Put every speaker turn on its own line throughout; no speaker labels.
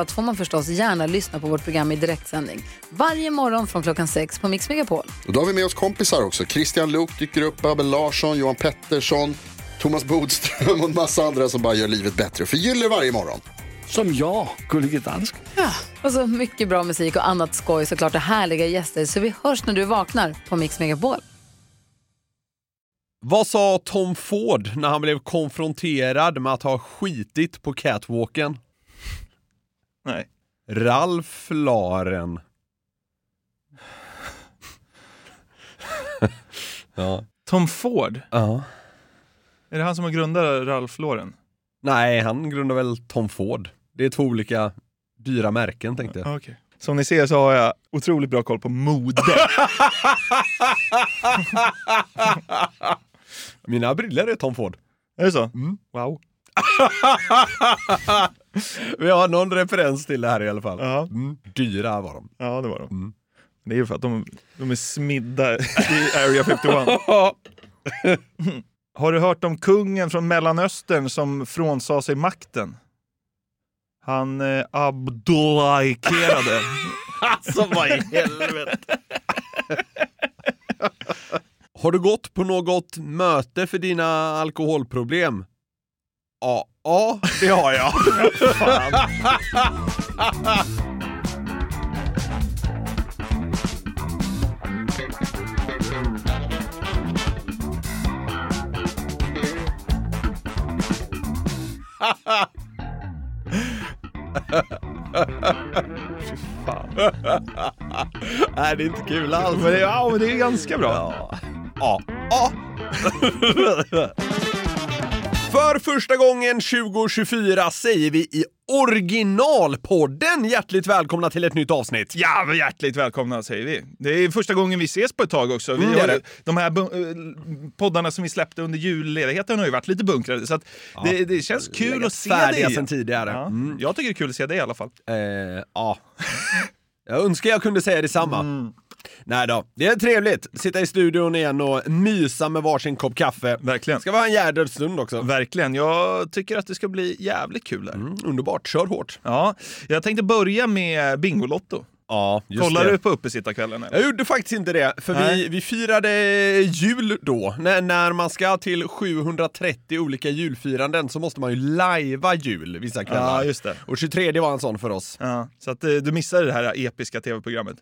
allt får man förstås gärna lyssna på vårt program i direktsändning. Varje morgon från klockan sex på Mix Megapol.
Och då har vi med oss kompisar också. Christian Luuk dyker upp, Abel Larsson, Johan Pettersson, Thomas Bodström och en massa andra som bara gör livet bättre och förgyller varje morgon.
Som jag, Gullige Dansken.
Och så mycket bra musik och annat skoj såklart och härliga gäster. Så vi hörs när du vaknar på Mix Megapol.
Vad sa Tom Ford när han blev konfronterad med att ha skitit på catwalken?
Nej.
Ralf Laren. ja.
Tom Ford?
ja.
Är det han som har grundat Ralph Lauren?
Nej, han grundar väl Tom Ford. Det är två olika dyra märken tänkte jag.
Ja, Ah, okej. Som ni ser så har jag otroligt bra koll på mode.
Mina briller är Tom Ford.
är det så? Wow.
Vi har någon referens till det här i alla fall.
Ja,
Mm. Dyra var de.
ja det var de.
Mm.
Det är ju för att de, de är smidda i Area 51. Har du hört om kungen från Mellanöstern som frånsade sig makten? Han eh, abdullahikerade.
Alltså vad i helvete. Har du gått på något möte för dina alkoholproblem? Ja, ja det har jag. Nej, det är inte kul alls.
men det, ja, men det är ganska bra.
Ja. Ja. ja. För första gången 2024 säger vi i originalpodden hjärtligt välkomna till ett nytt avsnitt.
Ja, men hjärtligt välkomna säger vi. Det är första gången vi ses på ett tag också. Vi
Mm, det är
har,
det.
de här bu- eh, poddarna som vi släppte under julledigheten har ju varit lite bunkrade, så att det, det känns kul att se dig.
Färdiga sen tidigare.
Ja,
Mm.
Jag tycker det är kul att se dig i alla fall.
Eh, ja. Jag önskar jag kunde säga detsamma.
Mm.
Nej då, det är trevligt. Sitta i studion igen och mysa med varsin kopp kaffe.
Verkligen.
Ska vara en jädrets stund också.
Verkligen. Jag tycker att det ska bli jävligt kul där.
Mm, underbart, kör hårt.
Ja, jag tänkte börja med Bingolotto.
Ja, just
Kollar
det.
du på uppesittarkvällen? eller?
Jag gjorde faktiskt inte det, för vi,
Nej.
vi firade jul då. När, när man ska till 730 olika julfiranden så måste man ju lajva jul vissa kvällar.
Ja, just det.
Och 23 var en sån för oss.
Ja, så att eh, du missade det här episka tv-programmet.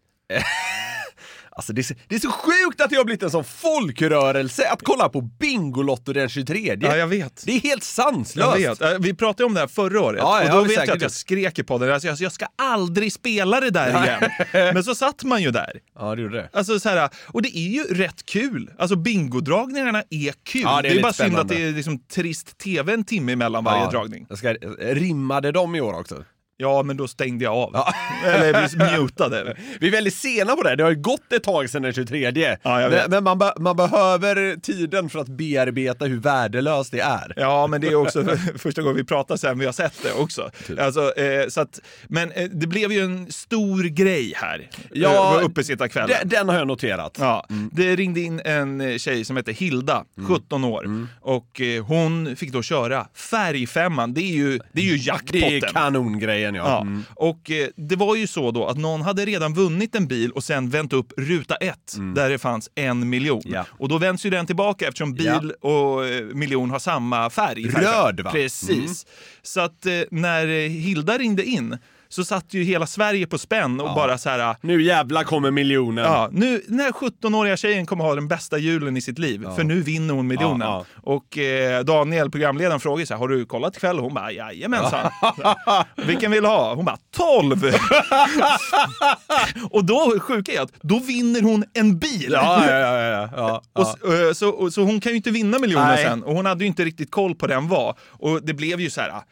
Alltså det är, så- det är så sjukt att det har blivit en sån folkrörelse att kolla på Bingolotto den 23.
Ja, jag vet.
Det är helt
Jag
sanslöst!
vet. Eh, Vi pratade om det här förra året
Ja, ja,
och då
vi
vet jag
säkert
att jag skrek i podden alltså, jag, jag ska aldrig spela det där igen. Men så satt man ju där.
Ja, det gjorde det.
Alltså, så här, och det är ju rätt kul. Alltså bingodragningarna är kul.
Ja, det är
det är,
lite
bara synd att
spännande.
det är liksom trist tv en timme emellan varje
ja,
dragning.
Jag ska, eh, rimmade de i år också?
Ja, men då stängde jag av. Eller vi mutade.
Vi är väldigt sena på det, här. det har ju gått ett tag sedan den 23.
Ja, jag vet.
men men man, be, man behöver tiden för att bearbeta hur värdelöst det är.
Ja, men det är också första gången vi pratar sen vi har sett det också.
Typ.
Alltså, eh, så att, men eh, det blev ju en stor grej här. eh,
Ja,
uppe sitta kvällen.
Den, den har jag noterat.
Ja, Det ringde in en eh, tjej som hette Hilda,
Mm.
17 år. Och eh, hon fick då köra färgfemman, det är ju, det är ju jackpotten.
Mm. Det är kanongrejen ja.
Ja.
Mm.
Och eh, det var ju så då att någon hade redan vunnit en bil och sen vänt upp ruta ett där det fanns en miljon.
Mm. Ja.
Och då vänds ju den tillbaka eftersom bil och eh, miljon har samma färg.
Röd, va? Mm.
Precis. Så att eh, när eh, Hilda ringde in så satt ju hela Sverige på spänn och bara så här...
Nu jävla kommer miljonen.
Ja, nu, den här 17-åriga tjejen kommer ha den bästa julen i sitt liv, för nu vinner hon miljonen.
Ja,
Och eh, Daniel, programledaren, frågar så här, har du kollat ikväll? Och hon bara, jajamensan. Vilken vill du ha? Hon bara, 12! och då, sjuka är att, då vinner hon en bil!
Ja, ja, ja, ja, ja, ja.
Och, s- eh, så, och, så hon kan ju inte vinna miljoner
Nej.
sen och hon hade ju inte riktigt koll på den var. Och det blev ju så här, ah,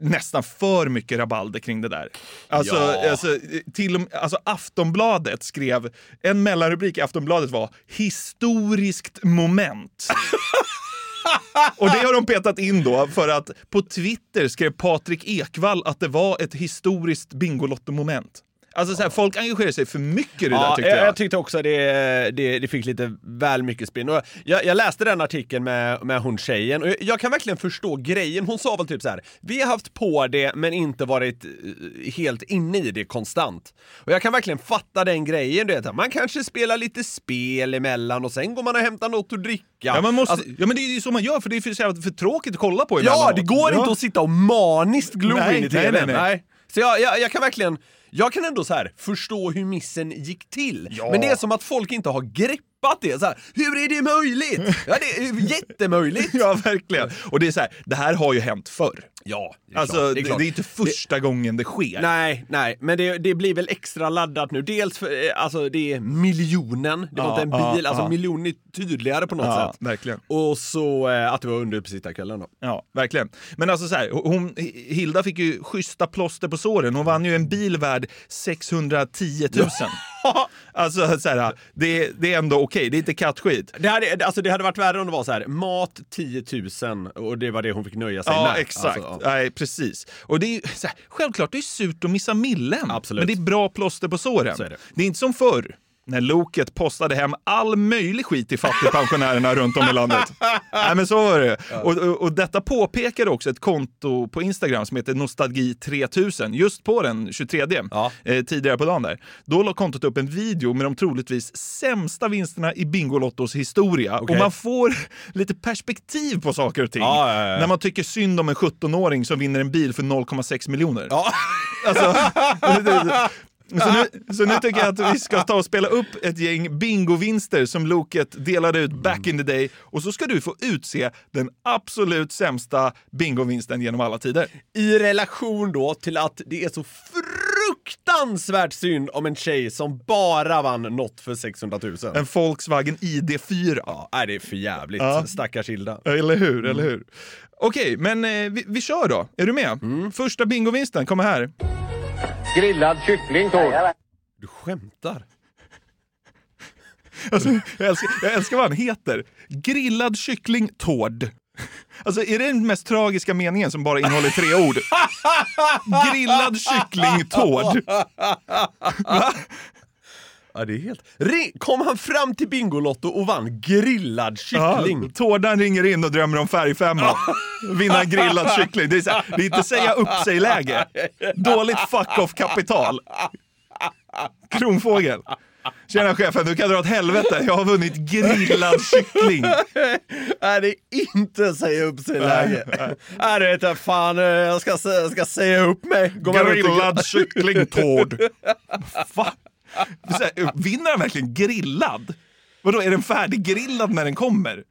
nästan för mycket rabalder kring det där. Alltså,
Ja.
alltså, till, och med- alltså Aftonbladet skrev, en mellanrubrik i Aftonbladet var “Historiskt moment”. Och det har de petat in då för att på Twitter skrev Patrik Ekwall att det var ett historiskt Bingolotto-moment. Alltså så här, folk engagerar sig för mycket i det där
Ja,
tyckte
jag,
jag.
jag tyckte också det, det, det fick lite väl mycket spinn. Och jag, jag läste den artikeln med, med hon tjejen och jag, jag kan verkligen förstå grejen. Hon sa väl typ så här: vi har haft på det men inte varit eh, helt inne i det konstant. Och jag kan verkligen fatta den grejen, du vet, att man kanske spelar lite spel emellan och sen går man och hämtar något att dricka.
Ja, man måste,
Alltså,
ja men det är ju så man gör för det är för, så jävla- för tråkigt att kolla
Ja,
på emellanåt.
det går inte att sitta och maniskt glo
Nej,
in i
nej,
tvn.
nej, nej.
Så jag, jag, jag kan verkligen, jag kan ändå så här förstå hur missen gick till. Men det är som att folk inte har greppat det. Så här, hur är det möjligt? Ja, det är jättemöjligt.
Ja, verkligen. Och det är så här, det här har ju hänt förr.
Ja, det är
Alltså,
klart,
det,
klart.
det är inte första gången det sker.
Nej, nej, men det, det blir väl extra laddat nu. Dels för, eh, alltså det är miljonen, det var
Ja,
inte en
ja,
bil, alltså
ja.
miljonen är tydligare på något
Ja,
sätt.
verkligen.
Och så eh, att det var under på sittarkvällen då.
Ja, verkligen. Men alltså så här, hon, Hilda fick ju schyssta plåster på såren. Hon vann ju en bil värd 610 000. alltså så här, det, det är ändå okej. Det är inte kattskit.
Det hade, alltså det hade varit värre om det var så här, mat 10 000 och det var det hon fick nöja sig
Ja,
med.
exakt.
Alltså, ja.
Nej, precis. Och det är ju, så här, självklart, det är surt att missa millen.
Absolut.
Men det är bra plåster på såren.
Så är det.
det är inte som förr, när Loket postade hem all möjlig skit till fattigpensionärerna runt om i landet. Nej, men så var det. Och, och, och detta påpekade också ett konto på Instagram som heter Nostalgi3000, just på den 23
Ja.
eh, tidigare på dagen där. Då la kontot upp en video med de troligtvis sämsta vinsterna i Bingolottos historia.
Okej.
Och man får lite perspektiv på saker och ting.
Ja, ja, ja.
När man tycker synd om en 17-åring som vinner en bil för 0,6 miljoner. Alltså, så, nu, så nu tycker jag att vi ska ta och spela upp ett gäng bingovinster som Loket delade ut back in the day. Och så ska du få utse den absolut sämsta bingovinsten genom alla tider.
I relation då till att det är så fruktansvärt synd om en tjej som bara vann något för 600 000.
En Volkswagen ID4.
Nej, det är för jävligt. Stackars Hilda.
Eller hur, eller
Mm.
hur. Okej, men eh, vi, vi kör då. Är du med?
Mm.
Första bingovinsten kommer här.
Grillad kyckling, Tor.
Du skämtar?
Alltså, jag, älskar, jag älskar vad han heter. Grillad kyckling Tord. Alltså är det den mest tragiska meningen som bara innehåller tre ord? Grillad kyckling Tord.
Ja, det är helt... Ring... Kom han fram till Bingolotto och vann grillad
Ja,
kyckling?
Tårdan ringer in och drömmer om färgfemma. Vinna grillad kyckling. Det är, så här, det är inte säga upp sig-läge. Dåligt fuck-off-kapital. Kronfågel. Tjena chefen, du kan dra åt helvete. Jag har vunnit grillad kyckling.
Nej, det är inte säga upp sig läge. Nej, det vet jag fan. eh, Jag ska, sä- jag ska säga upp mig. Går man runt och-
Grillad kycklingtård. Va? Så här, Vinner han verkligen grillad? Vadå, är den färdiggrillad när den kommer?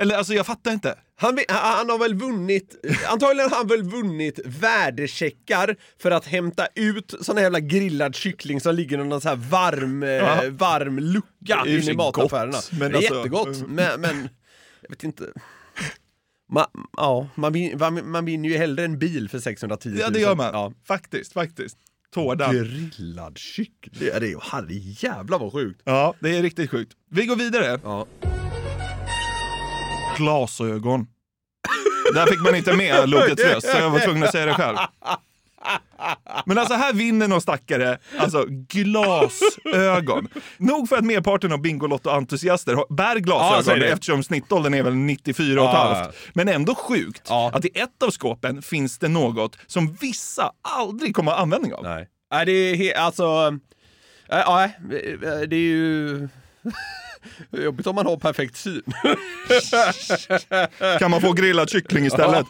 Eller alltså, jag fattar inte.
Han, vi- han han har väl vunnit, antagligen har han väl vunnit värdecheckar för att hämta ut sån här jävla grillad kyckling som ligger i någon sån här varm,
Ja.
eh, varm lucka
Det är ju
inne i
gott,
mataffärerna.
men
det är
alltså-
jättegott, men, men jag vet inte. Ma, ja, man, vin, man, man vinner ju hellre en bil för 610 000.
Ja, det gör man.
Ja.
Faktiskt, faktiskt. Tårdan.
Grillad kyckling, det är det ju. Herrejävlar vad sjukt.
Ja, det är riktigt sjukt. Vi går vidare.
Ja.
Glasögon. Där fick man inte med lokets röst, så jag var tvungen att säga det själv. Men alltså här vinner någon stackare, alltså glasögon. Nog för att merparten av Bingolotto-entusiaster har- bär
Ja, så är
glasögon
det.
eftersom snittåldern är väl 94 och ett
Ja.
halvt. Men ändå sjukt
Ja.
att i ett av skåpen finns det något som vissa aldrig kommer att ha användning av.
Nej. Nej, det är he- alltså... äh, Ja, äh, det är ju... Jobbigt om man har perfekt syn.
Kan man få grillad kyckling istället?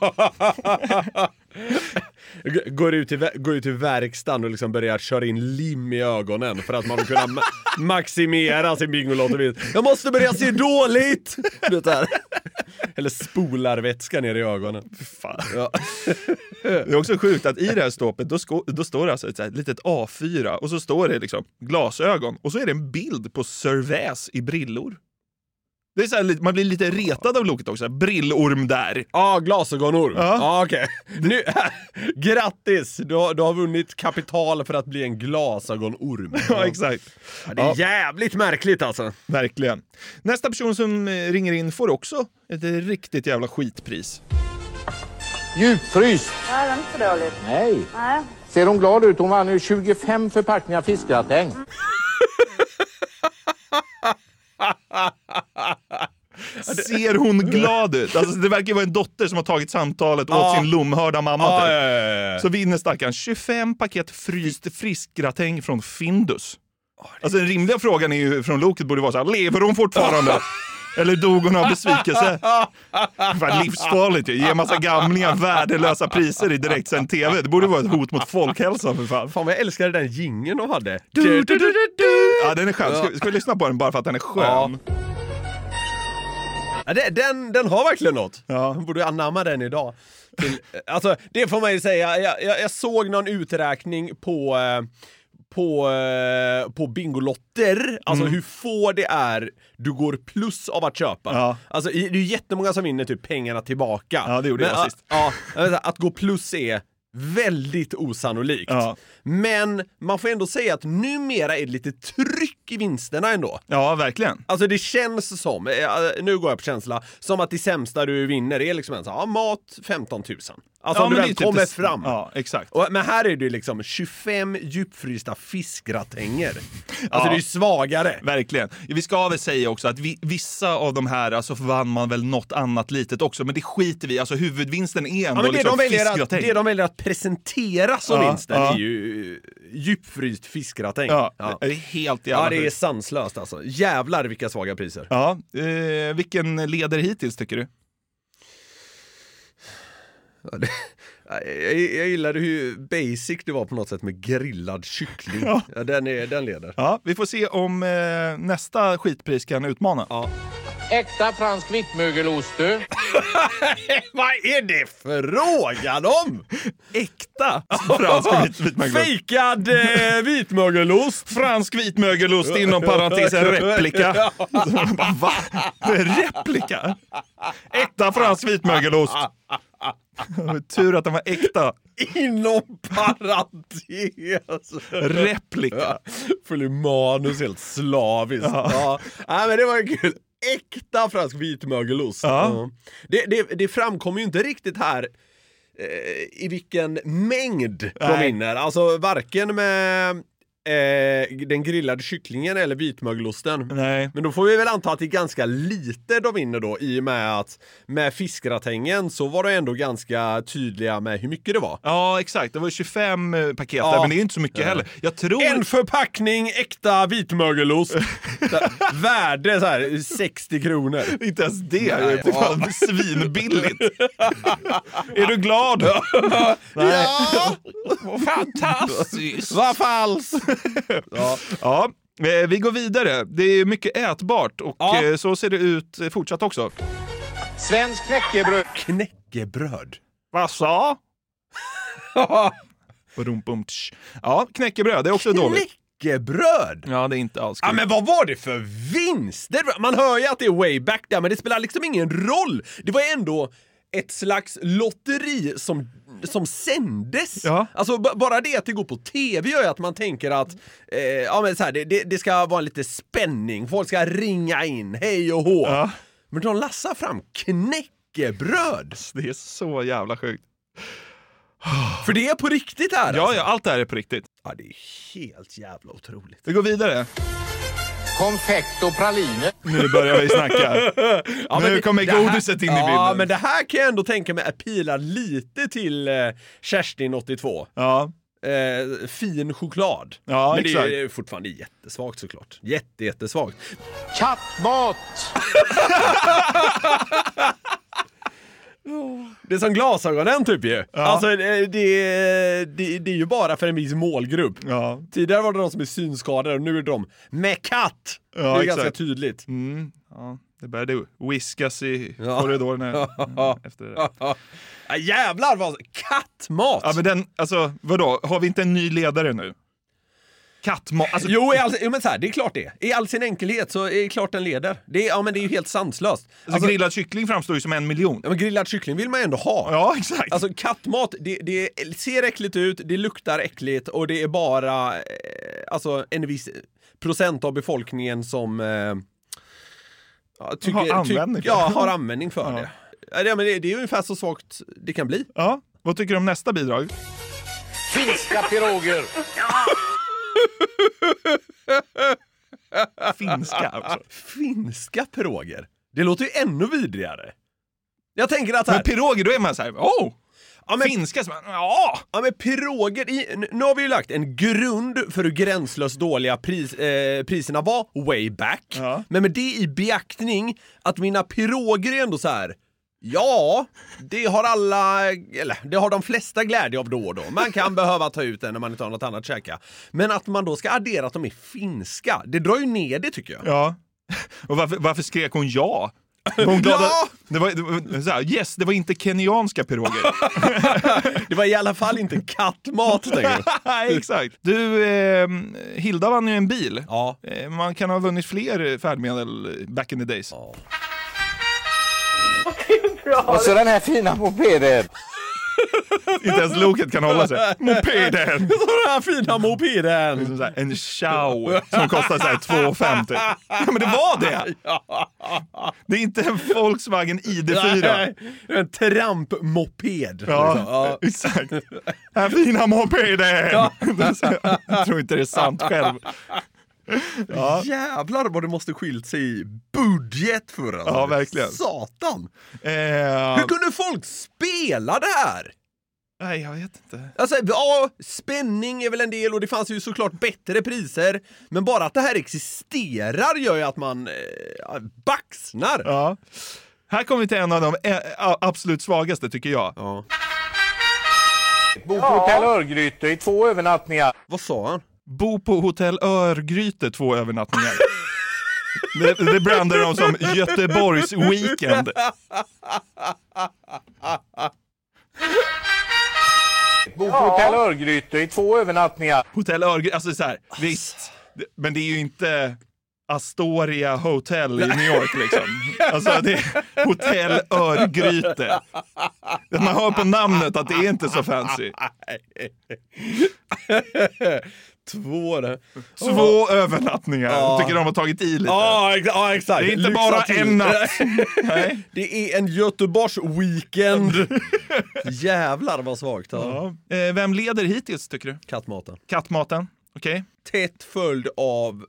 G- Går ut, till, vä- går ut till verkstaden och liksom börjar köra in lim i ögonen för att man vill kunna ma- maximera sin Bingolotto-vinst. Jag måste börja se dåligt! Du vet, så här. Eller spolarvätska ner i ögonen.
Fan.
Ja.
Det är också sjukt att i det här ståpet då, sko- då står det alltså ett så här litet A4 och så står det liksom glasögon och så är det en bild på Sir Väs i brillor. Det är så här, lite- man blir lite retad av Loket också. Brillorm där.
Ja, glasögonorm.
Ja.
Ja, okej. Nu, grattis! Du har, du har vunnit kapital för att bli en glasögonorm.
Ja, exakt.
Ja, det är jävligt märkligt alltså.
Verkligen. Nästa person som eh, ringer in får också ett riktigt jävla skitpris.
Djupfryst.
Nej, det är inte så dåligt.
Nej.
Nej.
Ser hon glad ut? Hon vann ju 25 förpackningar fiskgratäng.
Ser hon glad ut? Alltså, det verkar vara en dotter som har tagit samtalet åt
Ja.
sin lomhörda mamma. typ.
ja,
Så vinner stackaren 25 paket fryst friskgratäng från Findus. Alltså den rimliga frågan är ju, från Loket borde vara så här, lever hon fortfarande? Eller dog hon av besvikelse? Fan, livsfarligt ju. Ge en massa gamlingar värdelösa priser i direktsänd TV. Det borde vara ett hot mot folkhälsan för fan.
Fan vad jag älskade den jingeln de hade.
Du, du, du, du, du. Ja, den är skön. Ska, ska vi lyssna på den bara för att den är skön?
Ja, det, den, den har verkligen något.
Ja.
Man borde anamma den idag. Till, alltså, det får man ju säga. Jag, jag, jag såg någon uträkning på, eh, på, eh, på Bingolotter, alltså
Mm.
hur få det är du går plus av att köpa.
Ja.
Alltså, i- det är ju jättemånga som vinner typ pengarna tillbaka.
Ja, det gjorde jag
ja,
sist.
Ja, jag vet inte, att gå plus är väldigt osannolikt.
Ja.
Men man får ändå säga att numera är det lite tryck i vinsterna ändå.
Ja, verkligen.
Alltså det känns som, eh, nu går jag på känsla, som att det sämsta du vinner är liksom en sån, ja, mat 15 000. Alltså om du
men det är typ
väl
ju
kommer
det-
fram.
Ja, exakt.
Och, men här är det ju liksom 25 djupfrysta fiskgratänger. Alltså
Ja.
det är ju svagare.
Verkligen. Vi ska väl säga också att vi, vissa av de här alltså, vann man väl något annat litet också, men det skiter vi i. Alltså huvudvinsten är ändå
Ja, men det,
liksom
de väljer att,
fiskgratäng.
det de väljer att presentera som
Ja,
vinsten
ja.
är ju eh, djupfryst fiskgratäng.
ja, Det är helt jävla
Ja, det är
sjukt.
sanslöst alltså. Jävlar vilka svaga priser.
Ja, eh, vilken leder hittills tycker du?
Ja, det- Jag, jag gillade hur basic du var på något sätt med grillad kyckling.
Ja.
Ja, den, är, den leder.
Ja, vi får se om eh, nästa skitpris kan utmana.
Ja.
Äkta fransk vittmögelost du.
Vad är det frågan om?
Äkta fransk vit, vitmögelost.
Fejkad eh, vitmögelost.
Fransk vitmögelost inom parentes en replika. Va? Replika? Äkta fransk vitmögelost. Tur att den var äkta.
Inom parentes.
Replika.
Följer manus helt slaviskt. Ja. Nej, men det var ju kul. Äkta fransk vitmögelost.
Ja.
Det, det, det framkommer ju inte riktigt här eh, i vilken mängd de
Nej.
vinner. Alltså varken med eh, den grillade kycklingen eller vitmögelosten.
Nej.
Men då får vi väl anta att det är ganska lite de vinner då i och med att med fiskgratängen så var de ändå ganska tydliga med hur mycket det var.
Ja, exakt. Det var 25 paket där,
Ja.
men det är inte så mycket heller. Jag tror...
En förpackning äkta vitmögelost. Så här, Värde så här 60 kronor.
Inte ens det. det var svinbilligt. är du glad? Nej.
Ja,
Fantastiskt!
vad falskt!
Ja, eh, vi går vidare. Det är mycket ätbart och
Ja.
eh, så ser det ut eh, fortsatt också.
Svensk knäckebröd.
Knäckebröd.
Vad sa? Brumpumptsch. Ja, knäckebröd. Det är också dåligt.
Knäckebröd!
Ja, det är inte alls
Ja,
kul.
men vad var det för vinster? Man hör ju att det är way back där, men det spelar liksom ingen roll. Det var ändå ett slags lotteri som, som sändes.
Ja.
Alltså b- bara det att det går på TV gör ju att man tänker att eh, ja, men så här, det, det, det ska vara lite spänning, folk ska ringa in, hej och hå.
Ja.
Men de lassar fram knäckebröd!
Det är så jävla sjukt.
För det är på riktigt här
Ja,
alltså.
ja, allt det här är på riktigt.
ja, det är helt jävla otroligt.
Vi går vidare.
Konfekt och praliner.
Nu börjar vi snacka.
Ja,
Nu
det-
kommer
det här-
godiset in i
Ja,
bilden.
men det här kan jag ändå tänka mig appealar lite till eh, Kerstin, 82.
Ja,
Eh, fin choklad.
Ja,
men
exakt.
det är ju fortfarande jättesvagt såklart. Jätte, jättesvagt.
Kattmat.
Det är som glasögonen typ ju. Alltså eh, det, det, det är ju bara för en viss målgrupp.
ja.
Tidigare var det de som är synskadade och nu är det de med katt.
Ja,
det är ganska
exakt.
tydligt.
Mm, ja. Det började whiskas i
Ja.
korridorerna ja, efter det där.
Ja, jävlar vad... Kattmat!
Ja, men den, alltså, vadå, har vi inte en ny ledare nu? kattmat. Alltså,
Jo, i all, jo, men så här, det är klart det. I all sin enkelhet så är det klart den leder. Det är, ja, men det är ju helt sanslöst.
alltså,
Alltså,
grillad kyckling framstår ju som en miljon.
ja, men grillad kyckling vill man ju ändå ha.
Ja, exakt.
Alltså kattmat, det, det ser äckligt ut, det luktar äckligt och det är bara eh, alltså, en viss procent av befolkningen som eh, ja, tycker,
Har användning
tyck,
för
ja,
det.
har användning för
Ja.
det. Ja, det- men det. Det är ungefär så svagt det kan bli.
ja, vad tycker du om nästa bidrag?
Finska piroger.
Finska alltså.
Ah, Finska piroger, det låter ju ännu vidrigare. Jag tänker att så här,
Men piroger, då är man så här, oh!
ja, men,
Finska, så man, ja!
Ja men piroger, i, n- nu har vi ju lagt en grund för hur gränslöst dåliga pris, eh, priserna var way back.
Ja.
Men med det i beaktning, att mina piroger är ändå så här. Ja, det har alla, eller det har de flesta glädje av då och då. Man kan behöva ta ut den när man inte har något annat att käka. Men att man då ska addera att de är finska, det drar ju ner det tycker jag.
Ja. Och varför, varför skrek hon ja? Var hon glad
Ja!
att, det var, det var, så här, yes, det var inte kenyanska piroger.
Det var i alla fall inte kattmat, tänker jag.
Nej, exakt. Du, eh, Hilda vann ju en bil.
Ja.
Eh, Man kan ha vunnit fler färdmedel back in the days.
Och så Alltså, den här fina mopeden.
Inte ens loket kan hålla sig. Mopeden!
Så den här fina mopeden!
Som så här, en chow som kostar så här 2,50. Ja, men det var det! Det är inte en Volkswagen ID4.
Nej, det är en trampmoped. liksom.
Ja, exakt. Den fina mopeden! Jag tror inte det är sant själv.
Ja. Jävlar vad det måste skilt sig i budget för alltså.
Ja, verkligen.
Satan!
Eh,
Hur kunde folk spela det här?
nej, jag vet inte.
Alltså, ja, spänning är väl en del och det fanns ju såklart bättre priser. Men bara att det här existerar gör ju att man eh, baxnar.
Ja. Här kommer vi till en av de eh, a- absolut svagaste tycker jag.
Bor på hotell Örgryte i två övernattningar.
Vad sa han?
Bo på hotell Örgryte två övernattningar. Det, det brandar de som Göteborgs weekend.
Bor på hotell Örgryte i två övernattningar.
Hotell Örgryte, alltså så här, visst. Det- Men det är ju inte Astoria Hotel i New York liksom. Alltså det är Hotell Örgryte. Man hör på namnet att det är inte så fancy.
Två det.
Två övernattningar.
Ja.
Tycker de har tagit i lite.
Ja, exa- ja, exakt.
Ah, Det är inte
Lyxa
bara
till.
en natt. Nej.
Det är en Göteborgs-weekend. Jävlar vad svagt. Ja.
Ja. Eh, Vem leder hittills tycker du?
Kattmaten.
Kattmaten? Okej.
tätt följd av...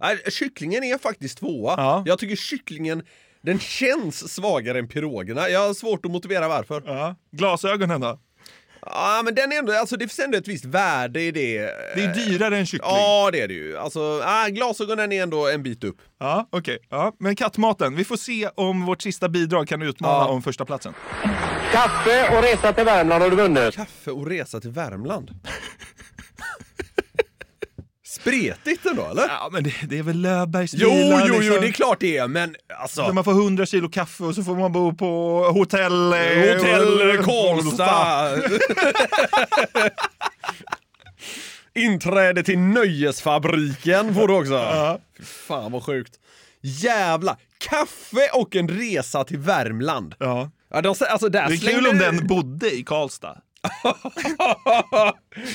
Nej, kycklingen är faktiskt tvåa.
Ja.
Jag tycker kycklingen, den känns svagare än pirogerna. Jag har svårt att motivera varför. Ja,
Ja. Glasögonen då?
men den är ändå, alltså det finns ändå ett visst värde i det.
Det är dyrare än kyckling.
Eh, Ja, det är det ju. Alltså, ah, glasögonen är ändå en bit upp.
Ja, okej. Ja, men kattmaten. Vi får se om vårt sista bidrag kan utmana om första platsen.
Kaffe och resa till Värmland har du vunnit.
Kaffe och resa till Värmland. Spretigt ändå, eller?
Ja, men det, det är väl Löfbergs
Jo,
bilar,
jo, jo,
liksom.
det är klart det är, men
Där
alltså...
Man får 100 kilo kaffe och så får man bo på hotell... eh,
Hotell
och-
Karlstad. Inträde till Nöjesfabriken får du också. Fy Fan vad sjukt. Jävla kaffe och en resa till Värmland.
Ja.
Ja, de, sä- alltså, där
Det är kul
slängde-
om den bodde i Karlstad.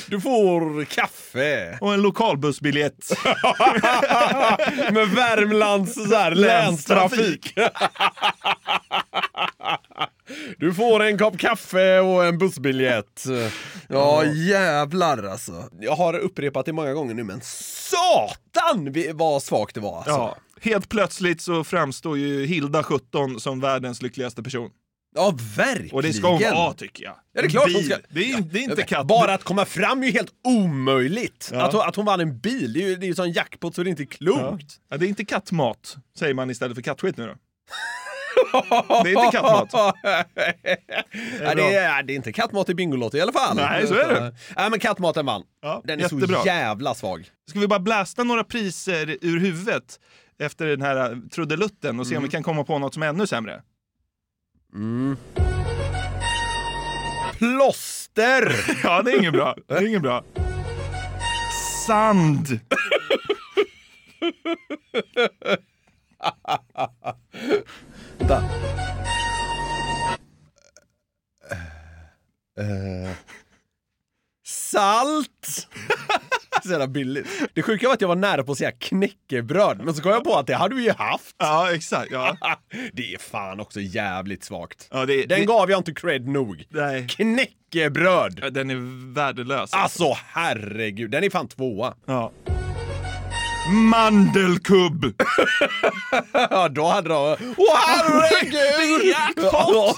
Du får kaffe
Och en lokalbussbiljett.
med Värmlands så här, länstrafik. Du får en kopp kaffe och en bussbiljett. Ja, jävlar alltså. Jag har upprepat det många gånger nu, men satan vi- vad svagt det var alltså. Ja,
Ja. Helt plötsligt så framstår ju Hilda, 17, som världens lyckligaste person.
verkligen.
Och det ska hon vara, tycker jag.
Ja, det är klart
En
hon
bil.
ska.
Det är, ju- det är
Jag
inte
vet,
katt...
Bara att komma fram är ju helt omöjligt.
Ja.
Att, hon, att hon vann en bil, det är ju det är ju sån jackpot så det är inte
Ja.
klokt.
Ja, det är inte kattmat, säger man istället för kattskit nu då. Det är inte kattmat.
Ja, det, är, det är inte kattmat i Bingolotto i alla fall.
Nej, så är det.
Nej, men kattmaten vann.
Ja,
Den är
jättebra.
så jävla svag.
Ska vi bara blästa några priser ur huvudet efter den här äh, trudelutten och se om vi kan komma på något som är ännu sämre?
Plåster!
Ja, det är inget bra. Det är inget bra. sand.
Salt! Så jävla billigt. Det sjuka var att jag var nära på att säga knäckebröd, men så kom jag på att det hade vi ju haft.
Ja, exakt. Ja.
Det är fan också jävligt svagt.
Ja, det-
Den
det-
gav jag inte cred nog.
Nej.
Knäckebröd!
Den är värdelös.
Alltså herregud, den är fan tvåa.
Ah! Ja. Mandelkubb!
Ja, då hade de... Åh herregud! Jackpot!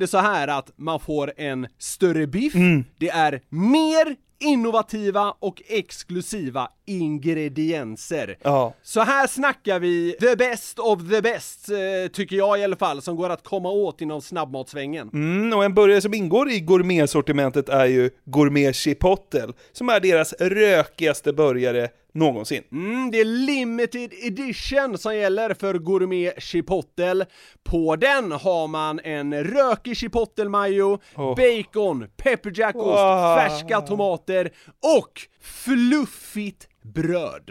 det så här att man får en större biff, det är mer innovativa och exklusiva ingredienser.
Ja.
Så här snackar vi the best of the best, eh, tycker jag i alla fall, som går att komma åt inom snabbmatsvängen.
Mm, och en burgare som ingår i gourmetsortimentet är ju Gourmet Chipotle, som är deras rökigaste burgare någonsin.
Mm, det är limited edition som gäller för gourmet chipotle. På den har man en rökig chipotle-majo, bacon, pepperjackost,
Wow.
färska tomater och fluffigt bröd.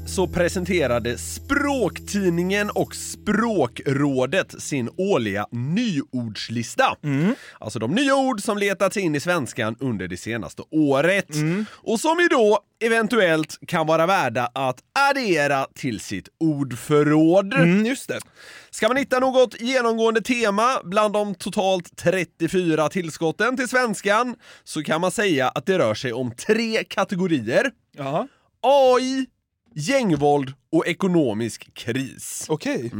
så presenterade Språktidningen och Språkrådet sin årliga nyordslista.
Mm.
Alltså de nya ord som letat sig in i svenskan under det senaste året.
Mm.
Och som ju då eventuellt kan vara värda att addera till sitt ordförråd.
Mm, just det.
Ska man hitta något genomgående tema bland de totalt 34 tillskotten till svenskan så kan man säga att det rör sig om tre kategorier.
Ja,
AI, gängvåld och ekonomisk kris. Mm.
okej.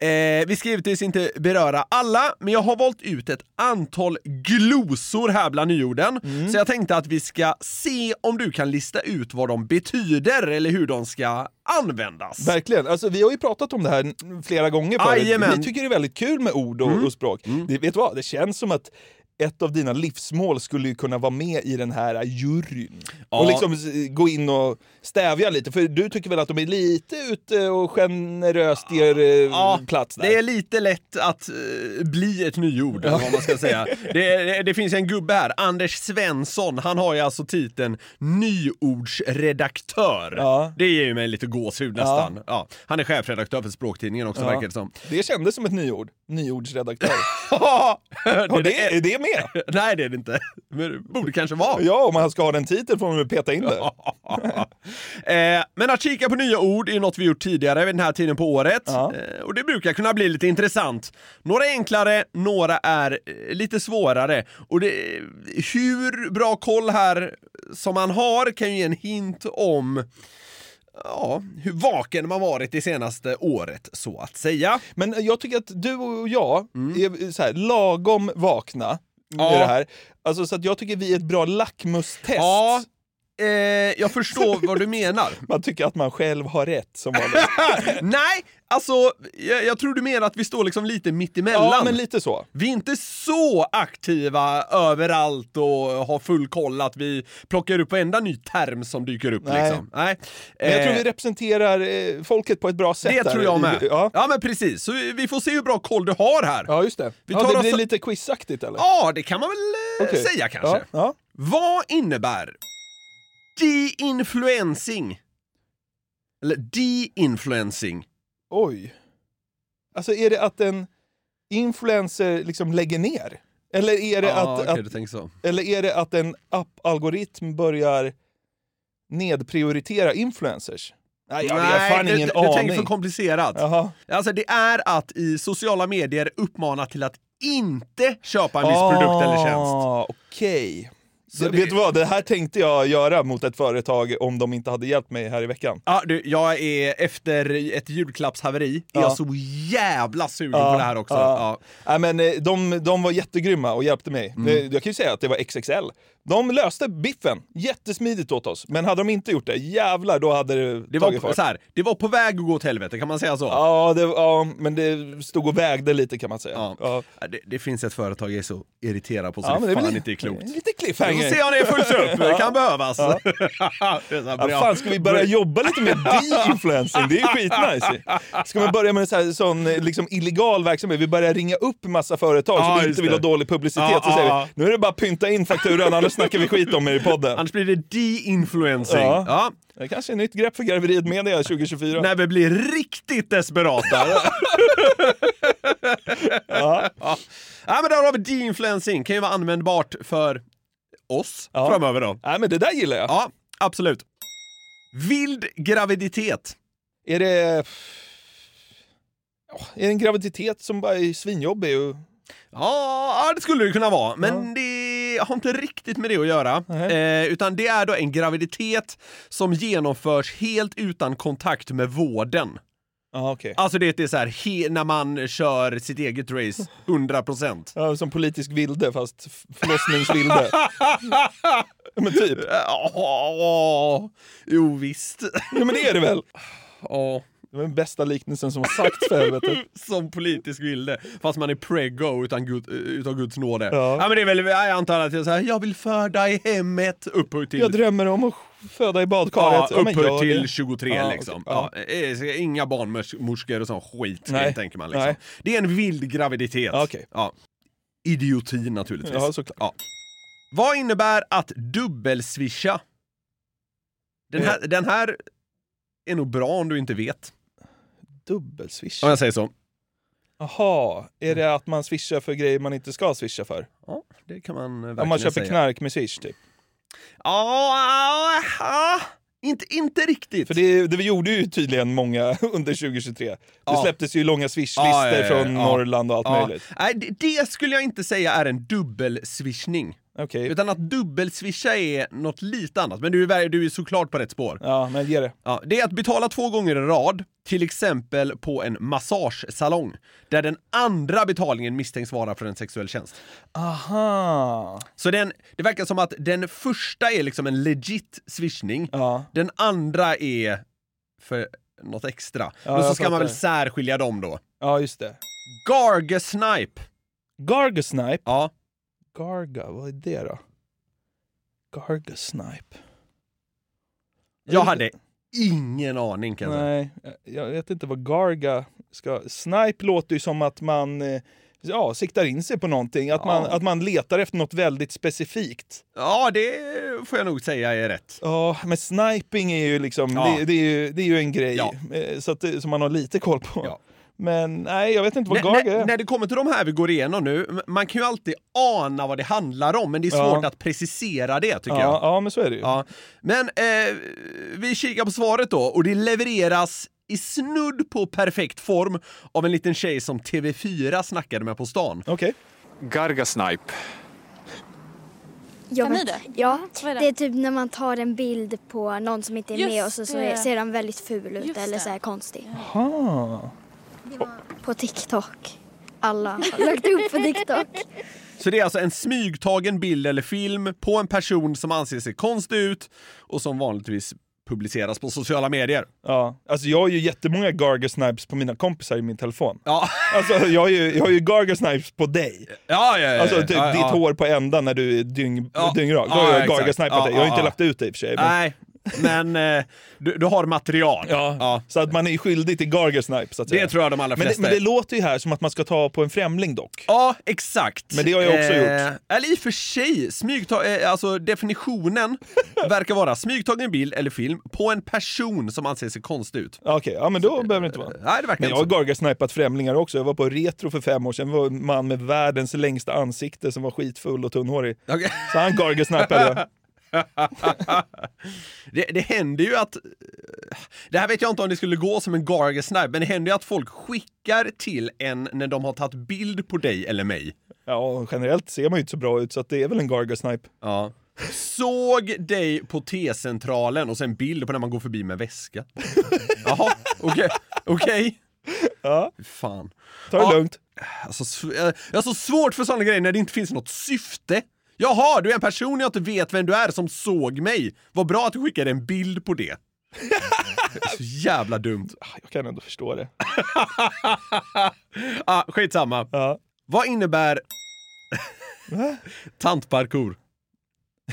Eh, vi ska givetvis inte beröra alla, men jag har valt ut ett antal glosor här bland nyorden. Så jag tänkte att vi ska se om du kan lista ut vad de betyder eller hur de ska användas.
Verkligen. Alltså, vi har ju pratat om det här n- flera gånger förut.
Jajamän. Mm.
Vi tycker det är väldigt kul med ord och, och språk. Det, vet du vad? Det känns som att ett av dina livsmål skulle ju kunna vara med i den här juryn.
Ja.
Och liksom s- gå in och stävja lite, för du tycker väl att de är lite ute och generöst ger eh, plats där?
Det är lite lätt att eh, bli ett nyord, eller vad man ska säga. Det, det, det finns en gubbe här, Anders Svensson, han har ju alltså titeln nyordsredaktör.
Ja.
Det ger ju mig lite gåshud nästan. Ja. Han är chefredaktör för Språktidningen också, verkar det som.
Det kändes som ett nyord. Nyordsredaktör.
det,
Och det,
det-
är det med?
Nej, det är det inte. Men det borde kanske vara.
Ja, om han ska ha den titeln får man väl peta in det.
eh, men att kika på nya ord är något vi gjort tidigare vid den här tiden på året.
Ja.
Eh, och det brukar kunna bli lite intressant. Några är enklare, några är eh, lite svårare. Och det, hur bra koll här som man har kan ju ge en hint om Ja, hur vaken man varit det senaste året, så att säga.
Men eh, jag tycker att du och jag
Mm.
är så här, lagom vakna
Ja.
med det här. Alltså, så att jag tycker vi är ett bra lackmustest.
Ja, Eh, jag förstår vad du menar.
Man tycker att man själv har rätt som vanligt.
Nej, alltså jag, jag tror du menar att vi står liksom lite mittemellan.
Ja, men lite så.
Vi är inte så aktiva överallt och har full koll att vi plockar upp varenda ny term som dyker upp.
Nej.
Liksom. Nej.
Men jag tror vi
Eh,
representerar eh, folket på ett bra sätt.
det
där
tror jag
i-
med. Ja.
Ja,
men precis. Så vi, vi får se hur bra koll du har här.
ja just det.
Vi
ja,
tar
det
oss-
blir lite quizaktigt eller?
Ja, det kan man väl eh,
Okej.
säga kanske.
Ja, ja.
Vad innebär de-influencing? Eller de-influencing?
Oj. Alltså är det att en influencer liksom lägger ner? Eller är det,
Ja,
att,
okej, du
att,
tänker så.
eller är det att en app-algoritm börjar nedprioritera influencers? Nej, jag har fan
du,
ingen
du, du
aning.
tänker för komplicerat.
Jaha.
Alltså det är att i sociala medier uppmana till att inte köpa en viss produkt eller tjänst.
Ah, Okej.
Så
Det-
det-
Vet du vad, det här tänkte jag göra mot ett företag om de inte hade hjälpt mig här i veckan.
Ja, du, jag är efter ett julklappshaveri, är jag
Ja.
så jävla sugen
Ah.
på det här också.
Ja.
Ja.
Nej, men eh, de, de var jättegrymma och hjälpte mig.
Mm.
Det- Jag kan ju säga att det var XXL. De löste biffen jättesmidigt åt oss, men hade de inte gjort det, jävlar då hade det,
Det,
tagit
var,
fart. Ah.
så här, det var på väg att gå åt helvete, kan man säga så?
Ja, det, ja, men det stod och vägde lite kan man säga.
Ja.
Ja.
Det, det finns ett företag jag är så irriterad på så
Ah. Ja,
det,
men det
fan
blir-
inte är klokt.
Lite
Vi
cliffhanger.
får se om det följs upp, det kan behövas.
Ja.
Det är så här,
Ja,
bra.
fan, ska vi börja jobba lite med de-influencing? Det är skitnice. Ska man börja med en så här, sån eh, liksom, illegal verksamhet? Vi börjar ringa upp massa företag
Ja,
som
just
inte vill ha
det.
dålig publicitet.
Ja,
så säger
ja,
vi, nu är det bara att pynta in fakturan, annars snackar vi skit om er i podden.
Annars blir det de-influencing.
Ja.
Ja.
Det kanske är ett nytt grepp för garveriet media 2024.
När vi blir riktigt desperata.
Ja.
ja. ja, men där har vi de-influencing. Kan ju vara användbart för oss
Ja.
framöver då.
Nej, men det där gillar jag.
Ja, absolut. Vild graviditet.
Är det... Ja, Är det en graviditet som bara är svinjobbig? Och...
Ja, ja, det skulle det kunna vara, men det har inte riktigt med det att göra.
Nej.
Eh, utan det är då en graviditet som genomförs helt utan kontakt med vården.
Ja, okej.
Alltså det är så här, he- när man kör sitt eget race 100%.
Ja, som politisk vilde, fast f- förlossningsvilde. Ja, men typ.
Ja, jo visst.
Ja, men det är det väl?
Ja,
Det var den bästa liknelsen som har sagts för helvete.
som politisk vilde, fast man är preggo utan gud, utav guds nåde.
Ja.
Ja. men det är väl, jag antar att jag säger jag vill föda i hemmet upphöjt till
Jag drömmer om att föda i badkaret.
Ja,
men
upphör
gör
till
det.
23
Ja,
liksom.
okej.
Ja.
Ja.
eh, så Inga barnmorskor och sån skit,
Nej.
tänker man. Liksom.
Nej.
Det är en vild graviditet.
Ja, okej.
Ja. Idioti naturligtvis.
Ja, såklart.
Ja. Vad innebär att dubbelswisha? Den här,
Eh.
den här är nog bra om du inte vet.
Dubbelswish.
Om jag säger så.
Jaha, är det att man swishar för grejer man inte ska swisha för?
Ja, det kan man eh, verkligen
Om man köper
säga.
knark med swish typ?
Ja, ja, ja. inte, inte riktigt.
För det, det gjorde ju tydligen många under 2023. Det
Ja.
släpptes ju långa swishlistor
Ja, ja, ja, ja.
från
Ja.
Norrland och allt
Ja.
möjligt.
Nej, det, det skulle jag inte säga är en dubbelswishning.
Okej.
Utan att dubbelswisha är något lite annat. Men du är, ver- du är såklart på rätt spår.
Ja, men ge det.
Ja, det är att betala två gånger i rad, till exempel på en massagesalong, där den andra betalningen misstänks vara för en sexuell tjänst.
Aha.
Så den, det verkar som att den första är liksom en legit swishning,
Ja.
den andra är för något extra.
Ja,
Men så
jag
ska man väl
fattar.
särskilja dem då.
Ja, just det.
Gargasnipe!
Gargasnipe.
Ja,
Garga, vad är det då? Gargasnipe.
jag hade ingen aning kan jag säga.
Nej, jag- jag vet inte vad Garga ska... Snipe låter ju som att man eh, ja, siktar in sig på någonting. Att, man,
Ja.
att man letar efter något väldigt specifikt.
Ja, det får jag nog säga är rätt.
Ja, men sniping är ju liksom...
Ja.
Det, det, är ju, det är ju en grej
Ja.
eh, så att, det- som man har lite koll på.
Ja.
Men nej, jag vet inte vad
När,
Garga
när,
är.
när det kommer till de här vi går igenom nu, m- man kan ju alltid ana vad det handlar om, men det är
Ja.
svårt att precisera det tycker
ja,
jag.
ja, men så är det ju.
Ja. Men eh, vi kikar på svaret då, och det levereras i snudd på perfekt form av en liten tjej som TV4 snackade med på stan.
Okej.
Gargasnipe.
Jag
Kan ni
vet-
det?
Ja,
Vad är det?
det är typ när man tar en bild på någon som inte är
Just
med och så, så
det.
är- ser den väldigt ful ut
Just
eller
det.
så här konstig.
Aha.
På TikTok. Alla har lagt upp på TikTok.
Så det är alltså en smygtagen bild eller film på en person som anser sig konstig ut och som vanligtvis publiceras på sociala medier.
Ja, alltså jag har ju jättemånga Garger Snipes på mina kompisar i min telefon.
Ja.
Alltså jag har ju, jag har ju Garger Snipes på dig.
Ja, ja, ja.
Alltså typ
Eh, ja, ja.
ditt hår på ända när du är dyng,
Ja.
dyngrak. Då har
Ja,
jag
exakt.
Garger Snipat
Ja,
dig. Jag har
ja,
inte
ja.
lagt ut det i och för sig. men-
Nej, men eh, du, du har material.
Ja. Så att man är skyldig till Garger Snipe så att säga.
Det tror jag de allra
men, det,
flesta
men det
är.
låter ju här som att man ska ta på en främling dock.
Ja, exakt.
Men det har jag också
Eh,
gjort.
Eller i och för sig, smygtag, eh, alltså definitionen verkar vara smygtagen bild eller film på en person som anser sig konstig ut.
Ja, Okej, ja men då behöver det inte vara.
Nej, det verkar
Men jag
inte
har
så.
gargarsnipat främlingar också. Jag var på retro för fem år sedan. Det var en man med världens längsta ansikte som var skitfull och tunnhårig. Så han gargarsnipade jag.
det, det händer ju att... eh, Det här vet jag inte om det skulle gå som en Garger Snipe, men det händer ju att folk skickar till en när de har tagit bild på dig eller mig.
Ja, generellt ser man ju inte så bra ut så att det är väl en gargarsnipe.
Ja. Såg dig på T-centralen och sen bild på när man går förbi med väska. Jaha, okej. Okej.
Ja.
Fan.
Ta det lugnt.
Alltså, sv- eh, jag har så svårt för sådana grejer när det inte finns något syfte. Jaha, du är en person jag inte vet vem du är som såg mig. Vad bra att du skickade en bild på det. Det är så jävla dumt.
Jag kan ändå förstå det.
ah, skitsamma. Vad innebär tantparkour?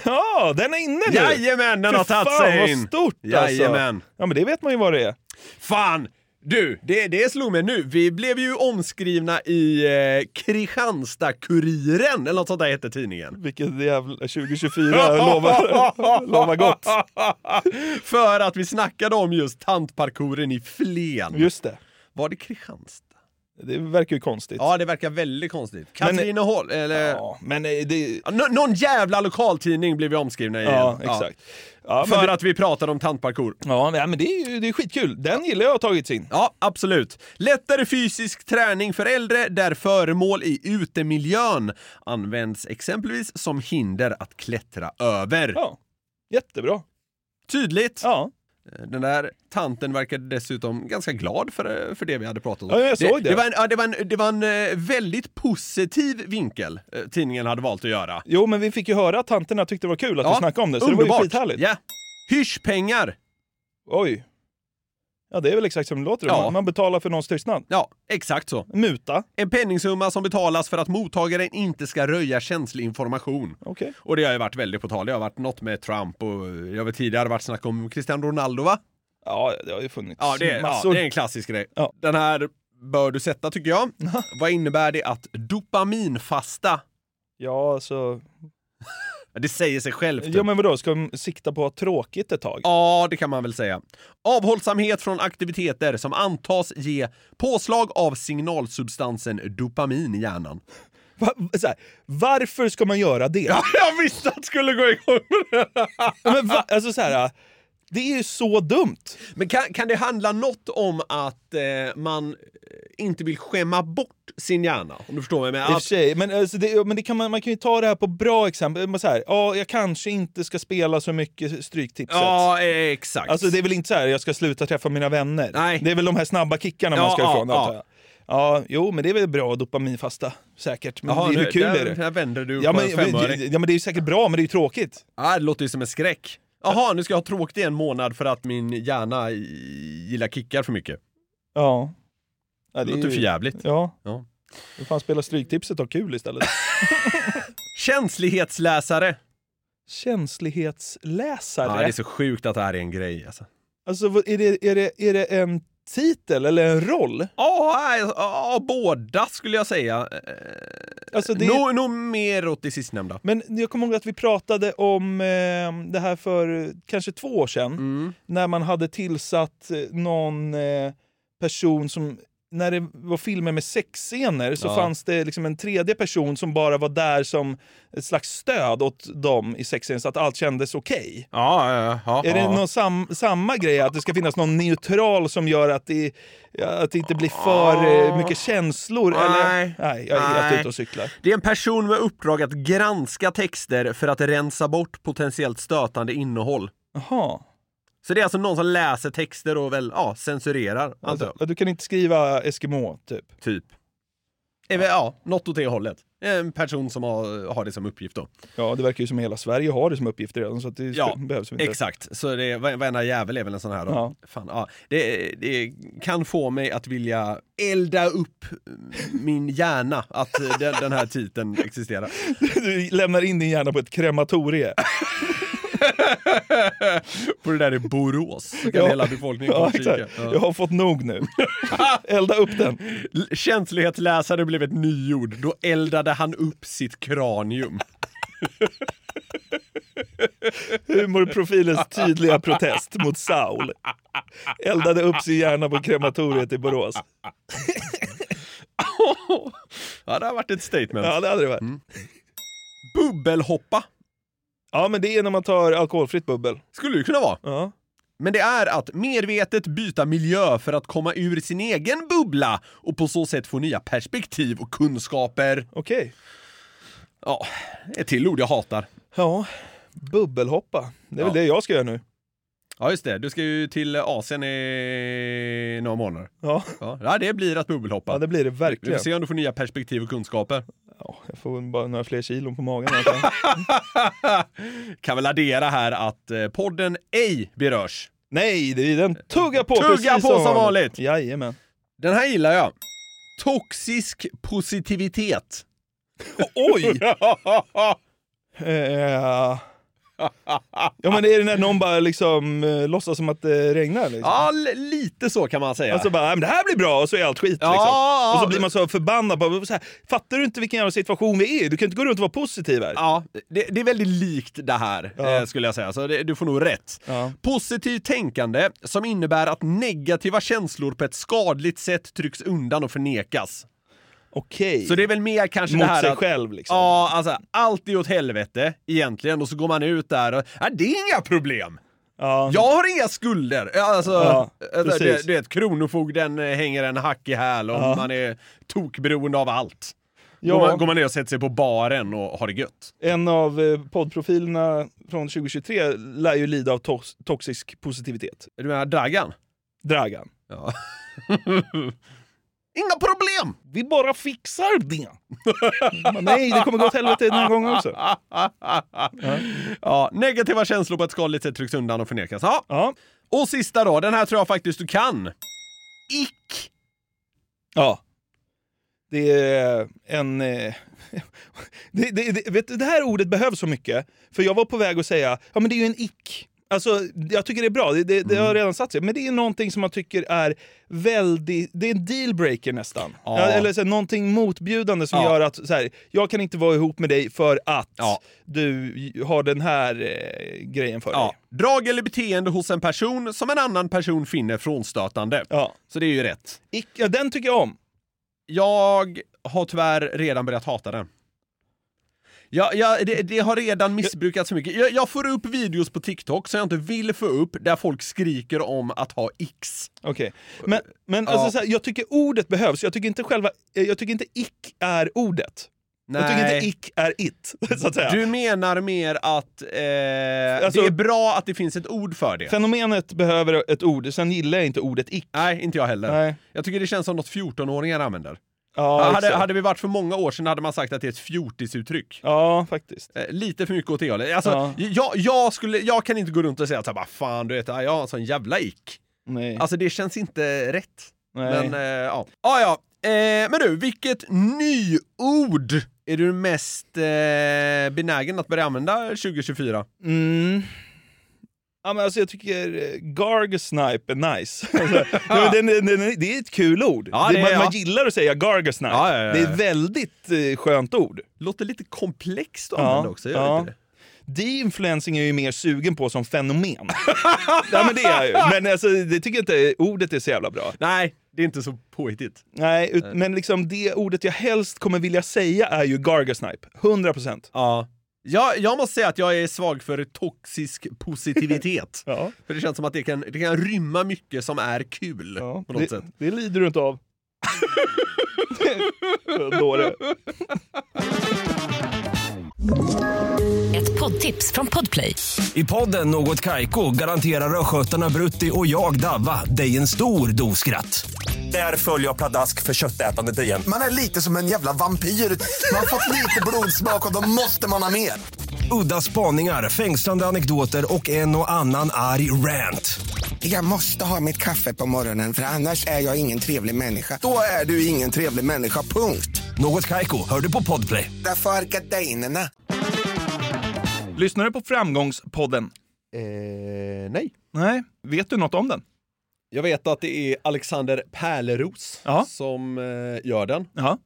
Ja, den är inne nu!
Jajamän, den
För
har tagit
fan,
sig
vad
in.
stort alltså.
Jajamän.
Ja, men det vet man ju vad det är.
Fan! Du, det, det slog mig nu. Vi blev ju omskrivna i eh, Kristianstad-Kuriren, eller något sånt där hette tidningen.
Vilket jävla 2024, jag lovar, lovar gott.
För att vi snackade om just tantparkouren i Flen.
Just det.
Var det Kristianstad?
Det verkar ju konstigt.
Ja, det verkar väldigt konstigt.
Men-
Katrineholm, eller?
Ja, men eh, det...
Nå- någon jävla lokaltidning blev vi omskrivna i.
Ja, exakt. Ja, men
För
det-
att vi pratade om tantparkour.
Ja, nej, men det är ju det är skitkul. Den gillar jag har tagits in.
Ja, absolut. Lättare fysisk träning för äldre där föremål i utemiljön används exempelvis som hinder att klättra över.
Ja, jättebra.
Tydligt. Eh,
Ja.
Den där tanten verkade dessutom ganska glad för, eh, för det vi hade pratat om.
Ja, jag såg det.
Det, var en, ja, det, var en, det var en eh, väldigt positiv vinkel eh, tidningen hade valt att göra.
Jo, men vi fick ju höra att tanterna tyckte det var kul att vi snackade om det, så det var ju skithärligt.
Ja. Hyschpengar.
Oj. Ja, det är väl exakt som det låter.
Ja.
Man- Man betalar för någons tystnad.
Ja, exakt så.
Muta.
En penningsumma som betalas för att mottagaren inte ska röja känslig information.
Okej.
Och det har ju varit väldigt på tal. Det har varit något med Trump och jag vet tidigare har det varit snack om Cristiano Ronaldo va?
Ja, det har ju funnits
Ja det, är, ja,
massor.
det är en klassisk grej.
Ja.
Den här bör du sätta tycker jag. Vad innebär det att dopaminfasta?
Ja, alltså...
Det säger sig självt.
Ja, men vadå? Ska de sikta på att ha tråkigt ett tag?
Ja, det kan man väl säga. Avhållsamhet från aktiviteter som antas ge påslag av signalsubstansen dopamin i hjärnan.
Va, så här, varför ska man göra det? Ja,
jag visste att det skulle gå igång med det!
men va, alltså så här, det är ju så dumt.
Men kan, kan det handla något om att eh, man eh, inte vill skämma bort sin hjärna? Om du förstår vad jag
I
menar?
och för sig, men, alltså, det, men det kan man, man kan ju ta det här på bra exempel. Men Så här, ja, jag kanske inte ska spela så mycket Stryktipset.
ja, eh, exakt.
Alltså det är väl inte så här, jag ska sluta träffa mina vänner.
Nej.
Det är väl de här snabba kickarna man
Ja,
ska
ja,
ifrån,
ja.
antar jag. Ja, jo, men det är väl bra att dopaminfasta, säkert. Men
Jaha,
det är
nu-
ju kul
där-
är det.
Här vänder du
Ja
på
men,
en femöring.
ja, men det är ju säkert bra, men det är ju tråkigt.
Ja, det låter ju som en skräck. Jaha, nu ska jag ha tråkigt i en månad för att min hjärna i- gillar kickar för mycket.
Ja. ja
Det låter för jävligt.
Ja.
Ja.
Då får han spela Stryktipset och ha kul istället.
Känslighetsläsare.
Känslighetsläsare.
Ja, det är så sjukt att det här är en grej alltså.
Alltså, vad- är det, är, det, är det en titel eller en roll?
Ah, Ja, nej, ja, båda skulle jag säga. Eh,
Alltså, det är-
Nog nog mer åt det sistnämnda.
Men jag kommer ihåg att vi pratade om eh, det här för kanske två år sedan.
Mm.
När man hade tillsatt eh, någon eh, person som... När det var filmer med sexscener så
Ja.
fanns det liksom en tredje person som bara var där som ett slags stöd åt dem i sexscenen så att allt kändes okej.
Ja, ja, ja.
Är det någon sam, samma grej, att det ska finnas någon neutral som gör att det, ja, att det inte blir för eh, mycket känslor? Eller?
Nej.
Nej, jag är helt
Nej.
ute och cyklar.
Det är en person med uppdrag att granska texter för att rensa bort potentiellt stötande innehåll.
Jaha.
Så det är alltså någon som läser texter och väl, ja, censurerar, antar
Alltså,
jag.
ja, du kan inte skriva Eskimo, typ.
Typ. Är vi- Ja, något åt det hållet. En person som har, har det som uppgift då.
Ja, det verkar ju som hela Sverige har det som uppgift redan så att det
Ja,
behövs inte.
exakt. Så det, är- varenda jävel är väl en sån här då.
Ja.
Fan, ja. Det, det kan få mig att vilja elda upp min hjärna att eh, den, den här titeln existerar.
Du lämnar in din hjärna på ett krematorie.
På det där i Borås så kan
Ja.
hela befolkningen
Ja,
ja, kika.
exakt. Jag har fått nog nu. Elda upp den.
L- Känslighetsläsare blev ett nyord. Då eldade han upp sitt kranium.
Humorprofilens tydliga protest mot Saul. Eldade upp sin hjärna på krematoriet i Borås.
Ja, det har varit ett statement.
Ja, det hade det varit.
Bubbelhoppa.
Ja, men det är när man tar alkoholfritt bubbel.
Skulle det kunna vara.
Ja.
Men det är att medvetet byta miljö för att komma ur sin egen bubbla och på så sätt få nya perspektiv och kunskaper.
Okej.
Ja, ett till ord jag hatar.
Ja, bubbelhoppa. Det är väl
Ja.
det jag ska göra nu.
Ja, just det. Du ska ju till Asien i några månader.
Ja,
Ja, ja, det blir att bubbelhoppa.
ja det blir det
Vi får
verkligen.
se om du får nya perspektiv och kunskaper.
Ja, jag får väl bara några fler kilon på magen. i alla fall.
kan väl addera här att eh, podden ej berörs.
Nej, det är den tugga på
Tugga
precis
på som vanligt.
Jajamän.
Den här gillar jag. Toxisk positivitet.
Oj! Eh, ja, men det är det när någon bara liksom eh, låtsas som att det regnar. Liksom. Alltså,
ja, l- lite så kan man säga.
Och så bara, "Ja, men det här blir bra och så är allt skit.
Ja, ja,
liksom. Och så
ja.
blir man så förbannad. Bara, så här, Fattar du inte vilken jävla situation vi är i? Du kan inte gå runt och vara positiv här.
Ja, det, det är väldigt likt det här eh, skulle jag säga, så det, du får nog rätt.
Ja.
Positivt tänkande som innebär att negativa känslor på ett skadligt sätt trycks undan och förnekas.
Okej.
Så det är väl mer kanske
Mot
det här
sig
att,
själv, liksom.
Ja, alltså allt är åt helvete egentligen och så går man ut där och ja, det är inga problem.
Ja.
Jag har inga skulder! Ja, Alltså,
Ja,
eh,
precis.
du, du vet, Kronofogden eh, hänger en hack i häl och
Ja.
man är tokberoende av allt.
Ja.
Går, man, går man ner och sätter sig på baren och har det gött.
En av eh, poddprofilerna från 2023 lär ju lida av tox- toxisk positivitet.
Du menar Dragan?
Dragan.
Ja. Inga problem!
Vi bara fixar det! Men Nej, det kommer gå åt helvete den här gången också.
ja, negativa känslor på ett skadligt sätt trycks undan och förnekas. Ja.
Ja.
Och sista då, den här tror jag faktiskt du kan. Ick!
Ja. Det är en... eh, Det, det, det, vet, du, det här ordet behövs så mycket, för jag var på väg att säga ja men det är ju en ick. Alltså, jag tycker det är bra, det, det,
Mm.
det har redan satt sig. Men det är någonting som man tycker är väldigt... Det är en dealbreaker nästan.
Ja.
Ja, Eller så här, någonting motbjudande som
Ja.
gör att så här, jag kan inte vara ihop med dig för att
Ja.
du har den här eh, grejen för
Ja.
dig.
Drag eller beteende hos en person som en annan person finner frånstötande.
Ja.
Så det är ju rätt.
Ick, ja, den tycker jag om.
Jag har tyvärr redan börjat hata den. Ja, ja, det, det har redan missbrukats för mycket. Jag, jag får upp videos på TikTok som jag inte vill få upp där folk skriker om att ha X.
Okej. Men, men alltså,
Ja.
så här, jag tycker ordet behövs. Jag tycker inte själva... eh, Jag tycker inte ick är ordet. Jag tycker inte ick är it, så att säga.
Du menar mer att eh,
Alltså-
det är bra att det finns ett ord för det?
Fenomenet behöver ett ord, sen gillar jag inte ordet ick.
Nej, inte jag heller.
Nej.
Jag tycker det känns som något 14-åringar använder.
Ja,
hade,
exakt.
hade vi varit för många år sedan hade man sagt att det är ett fjortisuttryck.
ja faktiskt.
Eh, Lite för mycket åt det hållet. Alltså,
Ja.
jag, jag, skulle, jag kan inte gå runt och säga att så här, "Vad fan, du vet, jag har en sån jävla ick.
Nej.
Alltså det känns inte rätt.
Nej.
Men eh, ja. Ah, ja. Eh, men du, vilket nyord är du mest eh, benägen att börja använda 2024?
Mm. Ja, men alltså jag tycker eh, gargasnipe är nice. Alltså, ja, men den, den, den, det är ett kul ord.
Ja, det är-
man,
ja.
man gillar att säga gargasnipe.
Ja, ja, ja, ja.
Det är ett väldigt eh, skönt ord.
Låter lite komplext att
Ja,
använda också, gör
ja.
det inte det?
De-influencing är jag ju mer sugen på som fenomen. ja, men det är jag ju. Men alltså, det tycker jag inte ordet är så jävla bra.
Nej, det är inte så påhittigt.
Nej, ut, men liksom det ordet jag helst kommer vilja säga är ju gargasnipe. 100 procent.
Ja. Jag, jag måste säga att jag är svag för toxisk positivitet.
Ja.
För det känns som att det kan, det kan rymma mycket som är kul på något
det,
sätt.
det lider du inte av. Dåre.
Ett poddtips från Podplay.
I podden Något Kaiko garanterar östgötarna Brutti och jag, Davva, dig en stor dos skratt.
Där följer jag pladask för köttätandet igen.
Man är lite som en jävla vampyr. Man har fått lite blodsmak och då måste man ha mer.
Udda spaningar, fängslande anekdoter och en och annan arg rant.
Jag måste ha mitt kaffe på morgonen för annars är jag ingen trevlig människa. Då är du ingen trevlig människa, punkt.
Något Kaiko, hör du på podplay.
Därför är gardinerna.
Lyssnar du på Framgångspodden?
Eh, nej.
Nej. Vet du något om den?
Jag vet att det är Alexander Pärleros som eh, gör den.
Ja.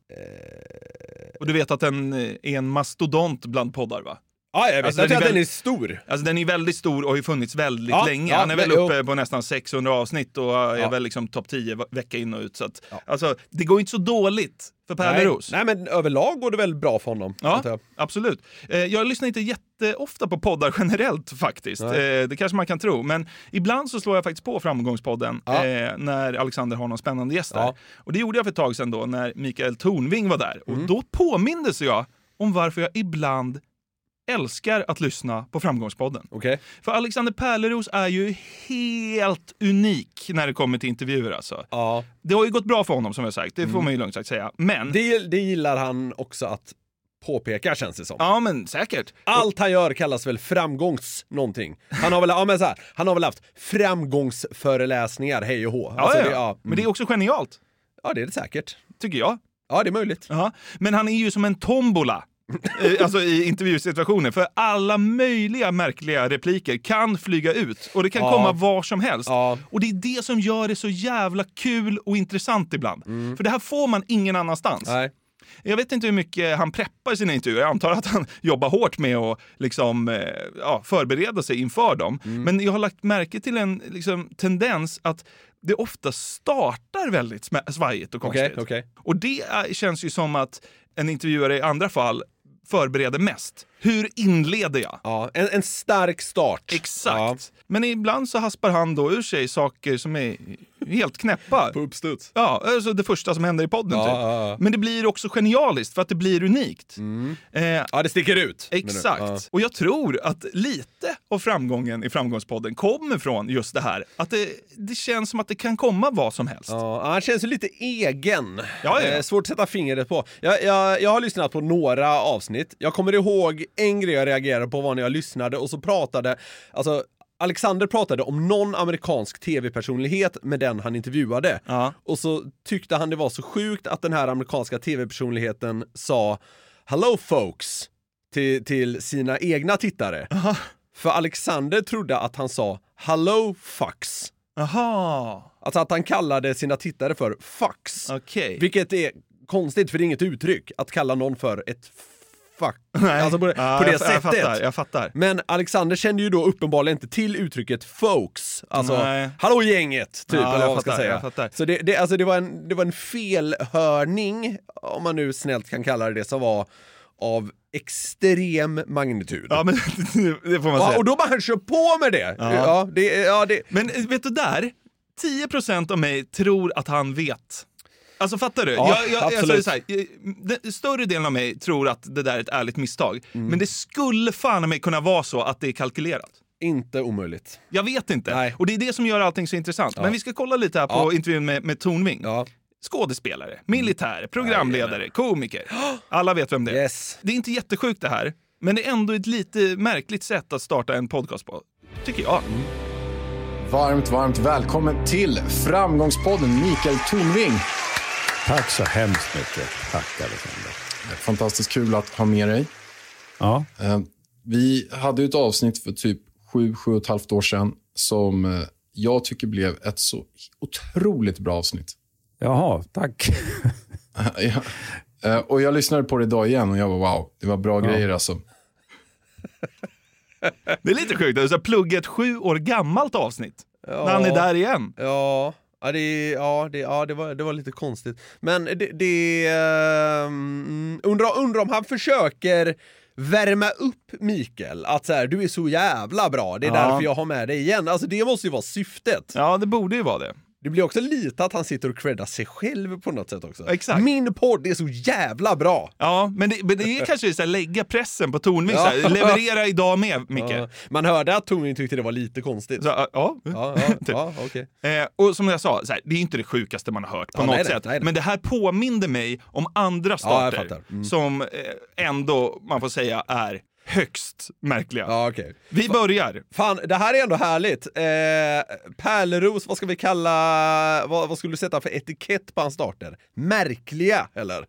Och du vet att den eh, är en mastodont bland poddar, va?
Ja, jag vet. Jag tror att den
väl-
Alltså, är stor.
Alltså den är väldigt stor och har ju funnits väldigt
Ja,
länge.
ja,
Han är väl
men- jo.
uppe på nästan 600 avsnitt och eh, är
Ja.
väl liksom topp 10 va- vecka in och ut. Så att, alltså, det går ju inte så dåligt för Pärleros.
Nej, nej, men överlag går det väl bra för honom.
Ja, absolut. Eh, Jag lyssnar inte jätteofta på poddar generellt faktiskt.
Nej.
Eh, Det kanske man kan tro. Men ibland så slår jag faktiskt på Framgångspodden
Ja.
eh, när Alexander har någon spännande gäst där.
Ja.
Och det gjorde jag för ett tag sedan då när Mikael Tornving var där.
Mm.
Och då påmindes jag om varför jag ibland älskar att lyssna på Framgångspodden. För Alexander Pärleros är ju helt unik när det kommer till intervjuer alltså. Det har ju gått bra för honom som jag sagt, det får
Mm.
man ju lugnt sagt säga. Men...
Det, det gillar han också att påpeka känns det som.
Ja men säkert.
Allt han gör kallas väl framgångs någonting. Han har väl, ja, men så här, han har väl haft framgångsföreläsningar hej och hå.
Ja,
Alltså,
ja,
det-
ja.
ja,
Men det är också genialt.
Ja, det är det säkert.
Tycker jag.
Ja, det är möjligt.
Ja. Men han är ju som en tombola. Eh, alltså i intervjusituationer. För alla möjliga märkliga repliker kan flyga ut och det kan
Ja.
komma var som helst. Och det är det som gör det så jävla kul och intressant ibland.
Mm.
För det här får man ingen annanstans. Jag vet inte hur mycket han preppar sina intervjuer. Jag antar att han jobbar hårt med att liksom, eh, ja, förbereda sig inför dem.
Mm.
Men jag har lagt märke till en liksom, tendens att det ofta startar väldigt sma- svajigt och konstigt.
Okej, okej.
Och det är, känns ju som att en intervjuare i andra fall förbereder mest. Hur inleder jag?
Ja, en, en stark start.
Exakt. Men ibland så haspar han då ur sig saker som är helt knäppa. På
uppstuds.
Ja, alltså det första som händer i podden
Ja,
typ.
ja, ja.
Men det blir också genialiskt för att det blir unikt. Eh,
Ja, det sticker ut. menar du?
Exakt.
Ja.
Och jag tror att lite av framgången i Framgångspodden kommer från just det här. Att det, det känns som att det kan komma vad som helst.
Ja, han känns ju lite egen.
Ja, ja.
Eh, Svårt att sätta fingret på. Jag, jag, jag har lyssnat på några avsnitt. Jag kommer ihåg en grej jag reagerade på var när jag lyssnade och så pratade, alltså Alexander pratade om någon amerikansk tv-personlighet med den han intervjuade. Och så tyckte han det var så sjukt att den här amerikanska tv-personligheten sa “Hello folks” till, till sina egna tittare. För Alexander trodde att han sa “Hello fucks”.
Aha.
Alltså att han kallade sina tittare för fucks.
Okej.
Vilket är konstigt, för det är inget uttryck att kalla någon för ett fuck. Alltså på, det-
Ja,
på det
jag,
sättet.
Jag fattar, jag fattar.
Men Alexander kände ju då uppenbarligen inte till uttrycket folks. Alltså,
Nej.
hallå gänget, typ.
Ja,
eller
jag
vad man ska
fattar,
säga.
jag fattar.
Så det, det, alltså, det, var en, det var en felhörning, om man nu snällt kan kalla det det, som var av extrem magnitud.
Ja, men det får man
Ja,
säga.
och då bara han kör på med det! Ja. det, ja, det.
Men eh, vet du där? 10% av mig tror att han vet. Alltså fattar du?
Ja,
jag, jag, alltså,
absolut.
så här, eh, den större delen av mig tror att det där är ett ärligt misstag.
Mm.
Men det skulle fan mig kunna vara så att det är kalkylerat.
Inte omöjligt.
Jag vet inte. Och det är det som gör allting så intressant. Men vi ska kolla lite här på
Ja.
intervjun med, med Tornving. Skådespelare,
Mm.
militär, programledare, komiker. Alla vet vem det är. Det är inte jättesjukt det här, men det är ändå ett lite märkligt sätt att starta en podcast på. Tycker jag.
Varmt, varmt välkommen till Framgångspodden Mikael Tornving.
Tack så hemskt mycket. Tack Alexander.
Fantastiskt kul att ha med dig.
Ja.
Eh, Vi hade ju ett avsnitt för typ sju, sju och ett halvt år sedan som eh, jag tycker blev ett så otroligt bra avsnitt.
Jaha, tack.
Ja. Eh, Och jag lyssnade på det idag igen och jag var wow, det var bra
Ja.
grejer alltså.
Det är lite sjukt, det är så här, plugga ett sju år gammalt avsnitt. När han är där igen.
Ja, ja, det, ja, det, ja det, var, det var lite konstigt. Men det... det ehm, undrar undra om han försöker värma upp Mikael. Att så här, du är så jävla bra, det är
Ja.
därför jag har med dig igen. Alltså det måste ju vara syftet.
Ja, det borde ju vara det.
Det blir också lite att han sitter och creddar sig själv på något sätt också.
Exakt.
Min podd är så jävla bra!
Ja, men det, men det är kanske så här, lägga pressen på Tornving. så här, Leverera idag med, Micke.
Ja. Man hörde att Tornving tyckte det var lite konstigt.
Så, ja,
ja,
typ.
ja, okej.
Eh, och som jag sa, så här, det är inte det sjukaste man har hört på
Ja,
något
nej, nej,
sätt.
nej, nej.
Men det här påminde mig om andra
Ja, jag
starter
fattar. Mm.
som eh, ändå, man får säga, är högst märkliga.
Ja, okej.
Vi börjar.
Fan, det här är ändå härligt. Eh, Pärleros, vad ska vi kalla... Vad, vad skulle du sätta för etikett på hans starter? Märkliga, eller?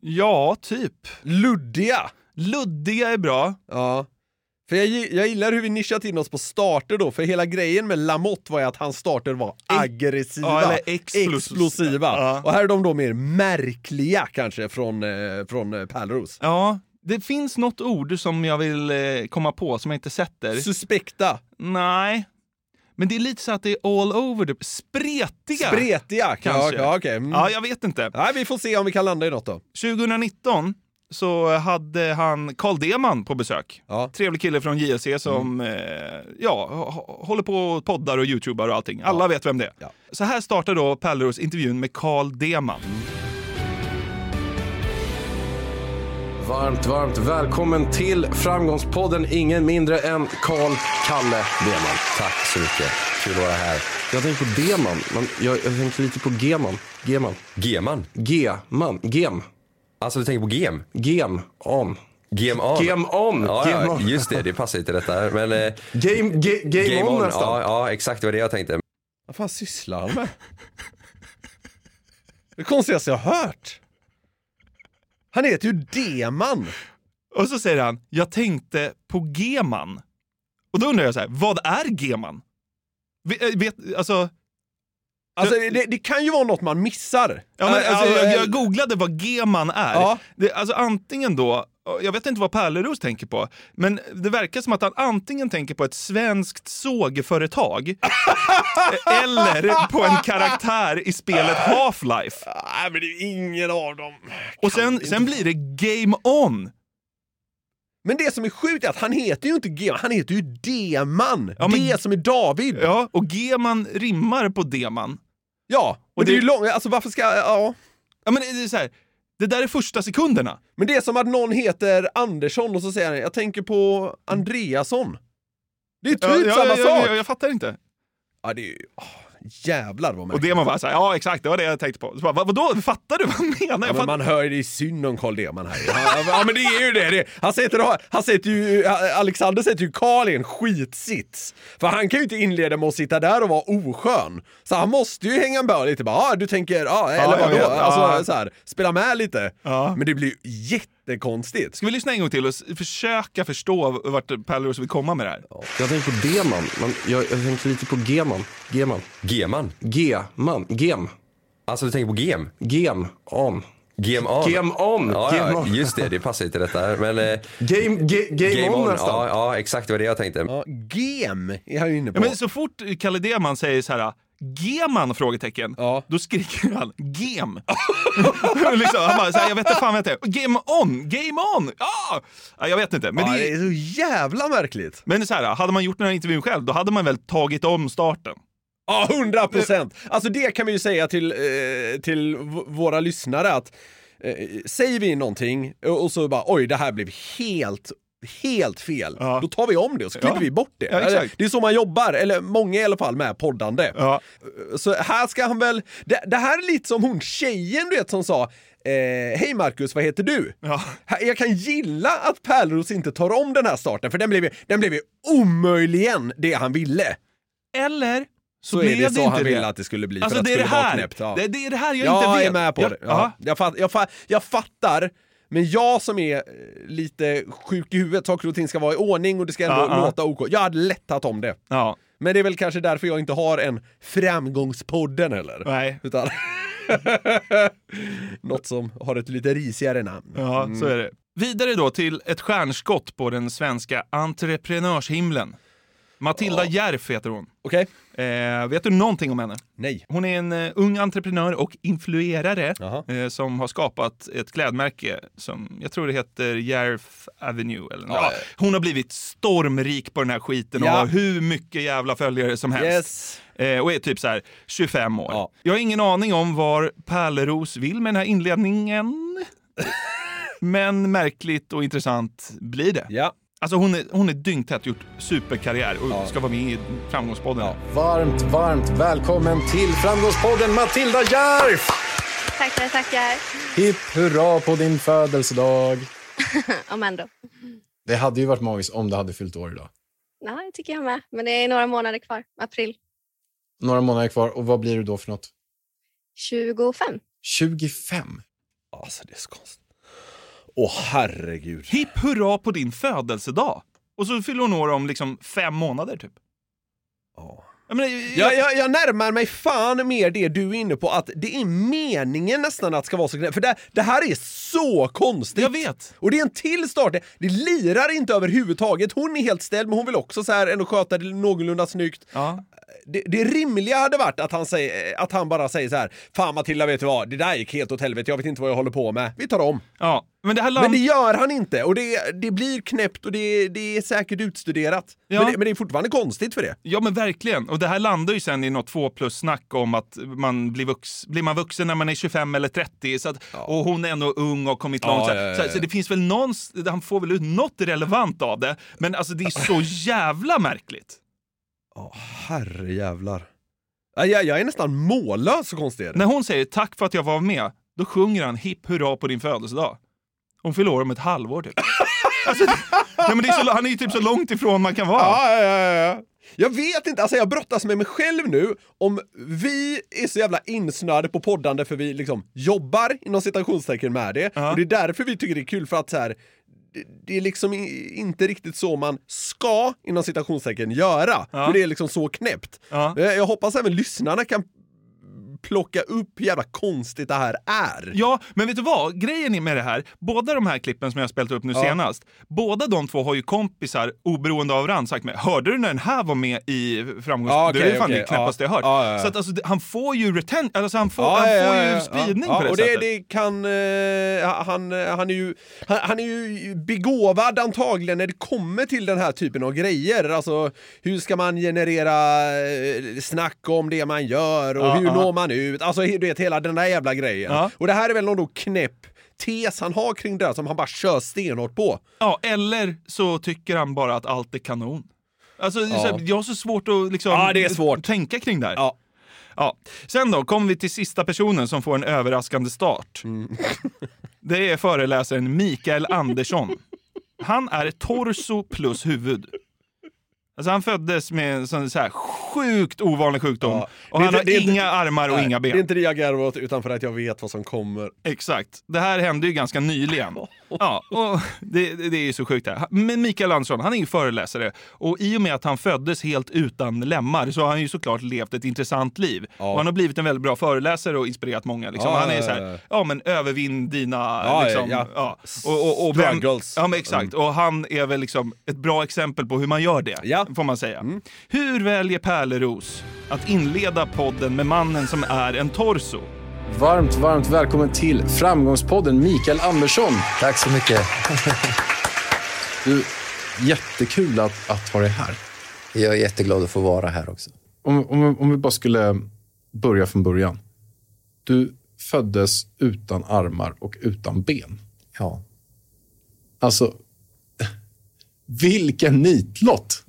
Ja, typ.
Luddiga.
Luddiga är bra.
Ja. För jag, gi- jag gillar hur vi nischat in oss på starter då, för hela grejen med Lamotte var ju att hans starter var aggressiva.
Ja, eller explosiva. Ja.
Och här är de då mer märkliga kanske från, eh, från eh, Pärleros.
Ja, det finns något ord som jag vill eh, komma på som jag inte sätter.
Suspekta.
Nej. Men det är lite så att det är all over the... Spretiga!
Spretiga,
kanske.
kanske. Ja, okej. Mm.
Ja, jag vet inte.
Nej, vi får se om vi kan landa i något då.
2019 så hade han Carl Deman på besök. Trevlig kille från JLC
Mm.
som eh, ja, h- håller på och poddar och youtubar och allting. Alla vet vem det är. Så här startar då Pärleros intervjun med Carl Deman.
Varmt, varmt välkommen till Framgångspodden. Ingen mindre än Karl Kalle Deman. Tack så mycket. Kul att vara här. Jag tänker på Deman, men jag, jag tänker lite på Geman. Geman. Geman? Geman. Gem. Alltså du tänker på gem? Gem. Om. Gem
on.
Gem om.
Ja,
Game
ja,
on.
just det. Det passar ju till detta. här, Men, eh,
Game, ge, game,
game
on,
on.
nästan.
Ja, ja, exakt. Det var det jag tänkte.
Vad fan sysslar han med? Det konstigaste jag har hört. Han heter ju Deman.
Och så säger han, jag tänkte på Geman. Och då undrar jag så här, vad är Geman? Vet, eh, vet, alltså,
Alltså, det, det kan ju vara något man missar.
Ja, men,
Alltså,
alltså, jag,
eh,
jag googlade vad G-man är.
Ja.
Det, alltså antingen då, jag vet inte vad Pärleros tänker på, men det verkar som att han antingen tänker på ett svenskt sågföretag eh, eller på en karaktär i spelet Half-Life.
Nej, men det är ingen av dem.
Och sen, sen blir det Game On.
Men det som är sjukt är att han heter ju inte G-man, han heter ju D-man.
Ja, men-
D som är David.
Ja, och G-man rimmar på D-man.
Ja, och
Och
det,
det-
är ju långt, alltså varför ska, ja.
Ja, men eh, det är så här, det där är första sekunderna.
Men det är som att någon heter Andersson och så säger han, jag tänker på Andreasson. Det är ju typ samma
jag,
sak.
Jag, jag fattar inte.
Ja, det är ju... åh, jävlar vad
Och det man bara såhär, ja exakt, det var det jag tänkte på. Så bara, vad, vadå, fattar du vad jag menar?
Ja,
Jag
men
fattar.
man hör ju det är synd om Carl Deman här. Ja, ja, men det är ju det. det. Han, sätter, han sätter ju, Alexander sätter ju Carl i en skitsits. För han kan ju inte inleda med att sitta där och vara oskön. Så han måste ju hänga med lite. Bara, ah, du tänker, ah, eller
jag
vadå?
vet.
Alltså,
Ja.
så här, spela med lite. Men det blir ju jättekonstigt.
Ska vi lyssna en gång till och s- försöka förstå vart Pärleros vill komma med det här?
Jag tänker på Deman, men jag, jag tänker lite på Geman. Geman.
Geman.
Geman. Gem.
Alltså du tänker på gem?
Gem om.
Game on.
Game on.
Ja,
Game
ja,
on.
just det. Det passar ju till detta. här, Men, eh,
Game, ge, game, on, nästan.
Ja, ja, exakt. Det var det jag tänkte.
Ja, gem är han ju inne på.
Ja, men så fort Kalle Deman säger så här Geman? Frågetecken. Då skriker han gem. liksom, han bara, så här, jag vet inte fan vad det heter. Game on! Game on! Ja! Ja, jag vet inte. Men,
ja,
det,
det är så jävla märkligt.
men så här, hade man gjort den här intervjun själv, då hade man väl tagit om starten.
Ja, hundra procent! Alltså det kan vi ju säga till, eh, till v- våra lyssnare att eh, säger vi någonting och och så bara oj, det här blev helt helt fel. Då tar vi om det och så klipper
Ja.
vi bort det.
Ja, exakt.
Eller, det är så man jobbar, eller många i alla fall med poddande. Så här ska han väl... Det, det här är lite som hon tjejen du vet som sa Eh, Hej Marcus, vad heter du? Här- Jag kan gilla att Pärleros inte tar om den här starten, för den blev, ju- den blev ju omöjligen det han ville.
Eller
Så,
så,
är
blev
det
det,
så
inte
han
det.
ville att det skulle bli.
Alltså
för
det
att
är det
skulle vara
här.
knäppt, ja.
Det, det är det här jag
jag
inte vet.
är med på
Jag-
det.
ja.
Ja. Jag, fatt, jag, fatt, jag fattar, men jag som är eh, lite sjuk i huvudet, saker och ting ska vara i ordning och det ska ändå
Ja, ja.
låta OK. Jag hade lättat om det.
Ja.
Men det är väl kanske därför jag inte har en framgångspodden heller.
Nej.
Utan något som har ett lite risigare namn.
Ja, så
Mm.
är det. Vidare då till ett stjärnskott på den svenska entreprenörshimlen. Matilda Järf heter hon.
Okej.
Eh, vet du någonting om henne?
Nej.
Hon är en eh, ung entreprenör och influerare eh, som har skapat ett klädmärke som jag tror det heter Järf Avenue. Eller något.
Ja.
Ja, hon har blivit stormrik på den här skiten och
Ja.
har hur mycket jävla följare som helst. Eh, och är typ så här 25 år. Jag har ingen aning om var Pärleros vill med den här inledningen. Men märkligt och intressant blir det.
Ja.
Alltså hon är, hon är dyngtät, gjort superkarriär och ska vara med i Framgångspodden.
Varmt, varmt välkommen till Framgångspodden Matilda Järf!
Tackar, tackar.
Hipp hurra på din födelsedag!
Om ändå.
Det hade ju varit magiskt om du hade fyllt år idag.
Ja, det tycker jag med. Men det är några månader kvar. April
Några månader kvar och vad blir du då för något?
25.
25?
Alltså det är så konstigt. Åh herregud.
Hipp hurra på din födelsedag! Och så fyller hon år om liksom fem månader typ. Ja. Men,
Jag, jag, jag närmar mig fan mer det du är inne på, att det är meningen nästan att ska vara så knä- För det, det här är så konstigt! Jag
vet!
Och det är en till start, det, det lirar inte överhuvudtaget. Hon är helt ställd, men hon vill också så här ändå sköta det någorlunda snyggt. Det, det rimliga hade varit att han, säger, att han bara säger så här, Fan Matilda, vet du vad? Det där gick helt åt helvete, jag vet inte vad jag håller på med. Vi tar om.
Ja, men, det här
men det gör han inte, och det, det blir knäppt och det, det är säkert utstuderat. Men, det, men det är fortfarande konstigt för det.
Ja men verkligen. Och det här landar ju sen i något två plus snack om att man blir, vux, blir man vuxen när man är 25 eller 30 så att, och hon är ändå ung och har kommit
Ja,
långt. så,
ja,
här.
ja,
så,
ja.
så det finns väl någon, han får väl ut något relevant av det. Men alltså det är så jävla märkligt.
Herrejävlar. Ja, Jag, jag är nästan mållös så konstigt är det.
När hon säger tack för att jag var med, då sjunger han hipp hurra på din födelsedag. Hon fyller år om ett halvår typ. alltså, nej, men det är så, han är ju typ så långt ifrån man kan vara.
Ja, ja, ja, ja. Jag vet inte, alltså jag brottas med mig själv nu om vi är så jävla insnöade på poddande för vi liksom jobbar inom citationstecken med det. Och det är därför vi tycker det är kul för att så här, det, det är liksom i- inte riktigt så man ska inom citationstecken göra. För det är liksom så knäppt. Eh, Jag hoppas även lyssnarna kan plocka upp hur jävla konstigt det här är.
Ja, men vet du vad? Grejen är med det här, båda de här klippen som jag har spelat upp nu
Ja.
senast, båda de två har ju kompisar oberoende av varandra sagt med hörde du när den här var med i framgångs...
Ja, okej,
det är ju fan
okej.
det knäppaste
Ja.
jag hört.
Ja, ja, ja.
Så att alltså, det- han får ju retent... Alltså han får,
Ja,
han
ja,
får
ja,
ju
ja.
spridning
Ja,
på det
och
sättet.
Det kan, eh, han, han, är ju, han, han är ju begåvad antagligen när det kommer till den här typen av grejer. Alltså, hur ska man generera eh, snack om det man gör och
Ja,
hur
ja.
når man ut? Alltså, du vet, hela den där jävla grejen.
Ja.
Och det här är väl någon då knäpp tes han har kring det här som han bara kör stenhårt på.
Ja, eller så tycker han bara att allt är kanon. Alltså, det är så här, jag har så svårt att liksom,
Ja, det är svårt.
tänka kring det här. Ja. Sen då kommer vi till sista personen som får en överraskande start.
Mm.
Det är föreläsaren Mikael Andersson. Han är torso plus huvud. Alltså han föddes med en sån så här sjukt ovanlig sjukdom. Och
Det är
han
inte-
har
det är
inga
inte-
armar och
Nej,
inga ben.
Det är inte det jag garvar åt utan för att jag vet vad som kommer.
Exakt. Det här hände ju ganska nyligen. Ja, och det, det det är ju så sjukt. Det här. Men Mikael Andersson, han är ju föreläsare. Och i och med att han föddes helt utan lemmar så har han ju såklart levt ett intressant liv. Och han har blivit en väldigt bra föreläsare och inspirerat många. Liksom.
Ja,
han är
ja,
så
ja, ja.
här, ja men övervinn dina...
ja,
liksom,
ja.
Och, och, och vem,
Struggles. Mm.
Ja men exakt. Och han är väl liksom ett bra exempel på hur man gör det, får man säga.
Mm.
Hur väljer Pärleros att inleda podden med mannen som är en torso?
Varmt, varmt välkommen till Framgångspodden Mikael Andersson. Tack så mycket. Du, jättekul att, att ha dig här.
Jag är jätteglad att få vara här också.
Om, om, om vi bara skulle börja från början. Du föddes utan armar och utan ben.
Ja.
Alltså, vilken nitlott!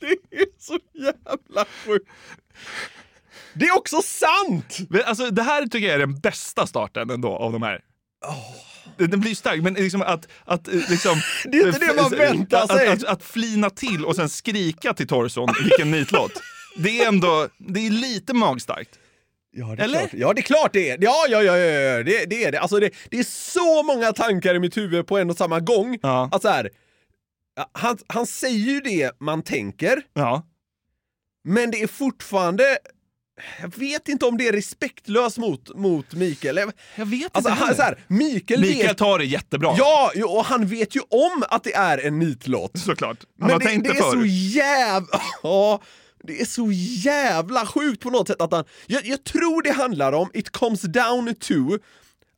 det är så jävla sjukt. Det är också sant!
Men Alltså, det här tycker jag är den bästa starten ändå av de här. Den den blir ju stark, men liksom att... att eh, liksom, eh,
Det är inte det man väntar
att,
sig.
Att, att, att flina till och sen skrika till Torson, vilken nitlott. Det är ändå, det är lite magstarkt.
Ja, det är Klart. Ja, det är klart det är. Ja, ja, ja, ja, ja. Det, det är det. Alltså, det. Det är så många tankar i mitt huvud på en och samma gång. Att så här, ja, han, han säger ju det man tänker.
Ja.
Men det är fortfarande Jag vet inte om det är respektlöst mot, mot Mikael. Jag,
vet
alltså,
inte
han,
heller.
så här, Mikael,
Mikael
vet...
tar det jättebra.
Ja, jo, och han vet ju om att det är en nitlåt.
Såklart. Han
Men
har
det,
tänkt
det
det
är så
förr.
jävla... Ja, det är så jävla sjukt på något sätt att han... Jag, jag tror det handlar om, it comes down to,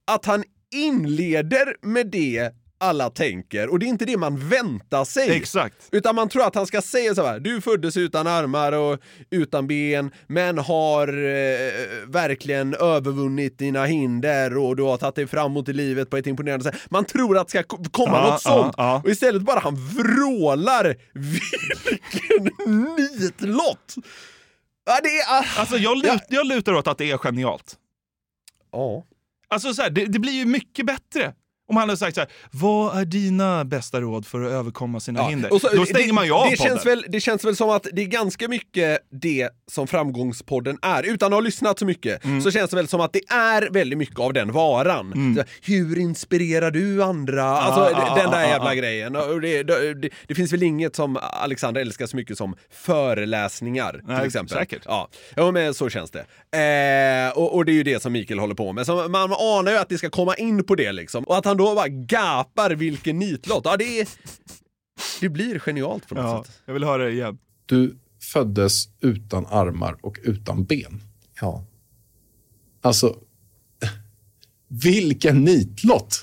att han inleder med det alla tänker och det är inte det man väntar sig.
Exakt.
Utan man tror att han ska säga så här, du föddes utan armar och utan ben, men har eh, verkligen övervunnit dina hinder och du har tagit dig framåt i livet på ett imponerande sätt. Man tror att det ska ko- komma
Ja,
något
ja,
sånt.
ja.
Och istället bara han vrålar, vilken nitlott! Ja, det är...
Alltså jag, lut, jag lutar åt att det är genialt.
Ja.
Alltså så här, det, det blir ju mycket bättre om han hade sagt så här, vad är dina bästa råd för att överkomma sina hinder?
Och så-
Då stänger
det,
man ju av
det
podden.
känns, väl, det känns väl som att det är ganska mycket det som Framgångspodden är. Utan att ha lyssnat så mycket
Mm.
så känns det väl som att det är väldigt mycket av den varan. Så här, Hur inspirerar du andra? alltså
ah,
den där
ah,
jävla
ah.
grejen. Och Det, det, det, det finns väl inget som Alexander älskar så mycket som föreläsningar
Nej,
till exempel.
säkert.
Ja, ja men så känns det. Eh, och, och det är ju det som Mikael håller på med. Så man anar ju att det ska komma in på det liksom. Och att han då bara gapar vilken nitlott. Ja, det är... Det blir genialt på något
Ja,
sätt.
jag vill höra det igen.
Du föddes utan armar och utan ben.
Ja.
Alltså, vilken nitlott!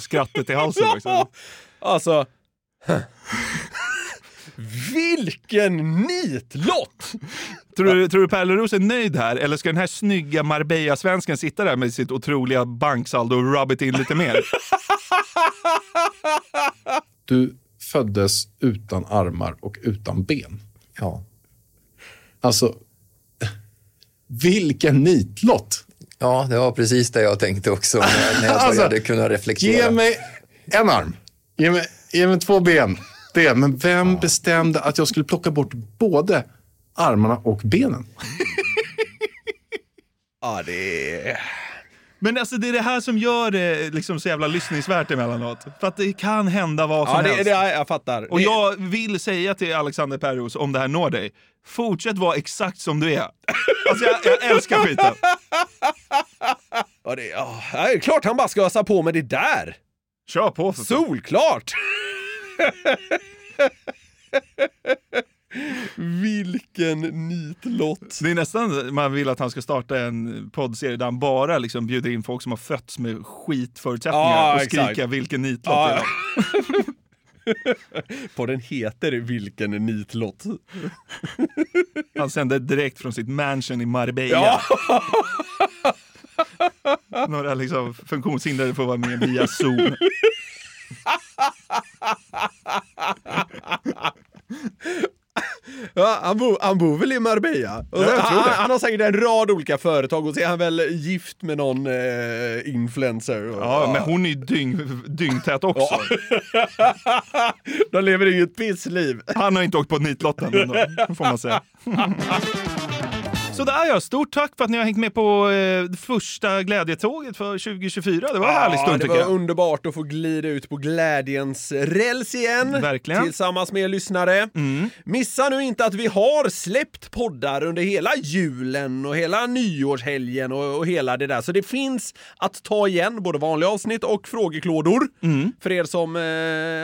Skrattet i halsen liksom. också.
Alltså... Vilken nitlott!
Tror du, tror du Pärleros är nöjd här eller ska den här snygga Marbella-svensken sitta där med sitt otroliga banksaldo och rub it in lite mer?
Du föddes utan armar och utan ben.
Ja.
Alltså, vilken nitlott!
Ja, det var precis det jag tänkte också när när jag
Alltså,
började kunna reflektera.
Ge mig en arm. Ge mig, ge mig två ben. Det, men vem bestämde att jag skulle plocka bort både armarna och benen?
Ja, det är...
Men alltså det är det här som gör det liksom så jävla lyssningsvärt emellanåt. För att det kan hända vad som
Ja, det,
helst.
det, ja, jag fattar.
Och
Det-
jag vill säga till Alexander Perros, om det här når dig, fortsätt vara exakt som du är. Alltså jag, jag älskar skiten.
Ja, det, ja, det är klart han bara ska ösa på med det där!
Kör på för
Solklart! Vilken nitlott.
Det är nästan man vill att han ska starta en poddserie där han bara liksom bjuder in folk som har fötts med skitförutsättningar
Ja,
och
exakt.
skrika vilken nitlott
Ja,
det är.
ja. Podden heter Vilken nitlott.
Han sänder direkt från sitt mansion i
Ja.
Marbella. Några liksom funktionshindrade får vara med via Zoom.
Ja, han, bor, han bor väl i Marbella? Och
Ja, jag tror
han,
det.
han har säkert en rad olika företag och så är han väl gift med någon eh, influencer. Och,
Ja, men hon är ju dyng, dyngtät också.
De lever inget pissliv.
Han har inte åkt på nitlotten ändå, får man säga. Så där ja, stort tack för att ni har hängt med på eh, det första glädjetåget för 2024. Det var en härlig stund
det
tycker
var
jag.
underbart att få glida ut på glädjens räls igen.
Verkligen. Mm.
Tillsammans med er lyssnare. Missa nu inte att vi har släppt poddar under hela julen och hela nyårshelgen och, och hela det där. Så det finns att ta igen, både vanliga avsnitt och frågeklådor.
Mm.
För er som eh,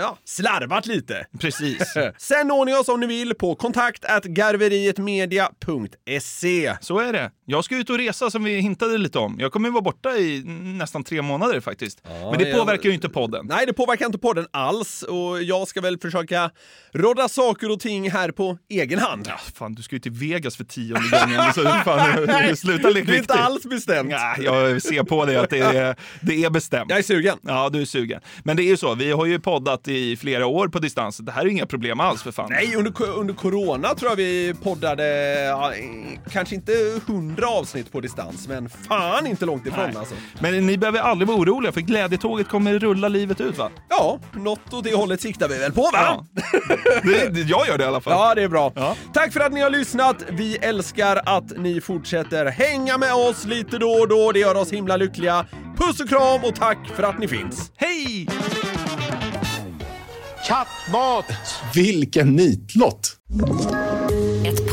ja, slarvat lite.
Precis.
Sen når ni oss om ni vill på kontakt garverietmedia.se.
Så är det. Jag ska ut och resa som vi hintade lite om. Jag kommer ju vara borta i nästan tre månader faktiskt. Men det
jag-
påverkar ju inte podden.
Nej, det påverkar inte podden alls och jag ska väl försöka rodda saker och ting här på egen hand.
Ah, Fan, du ska ju till Vegas för tionde gången. Så fan, sluta leka
Det är inte
riktigt.
alls bestämt.
Nej, jag ser på dig att det är, det är bestämt.
Jag är sugen.
Ja, du är sugen. Men det är ju så, vi har ju poddat i flera år på distans. Det här är ju inga problem alls för fan.
Nej, under, co- under corona tror jag vi poddade ja, eh, kanske inte hundra avsnitt på distans, men fan inte långt ifrån
Nej.
alltså.
Men ni behöver aldrig vara oroliga för glädjetåget kommer rulla livet ut va?
Ja, något åt det hållet siktar vi väl på va? Ja,
Det, det- jag gör det i alla fall.
det är bra. Tack för att ni har lyssnat. Vi älskar att ni fortsätter hänga med oss lite då och då. Det gör oss himla lyckliga. Puss och kram och tack för att ni finns.
Hej!
Vilken nitlott!
Ett podd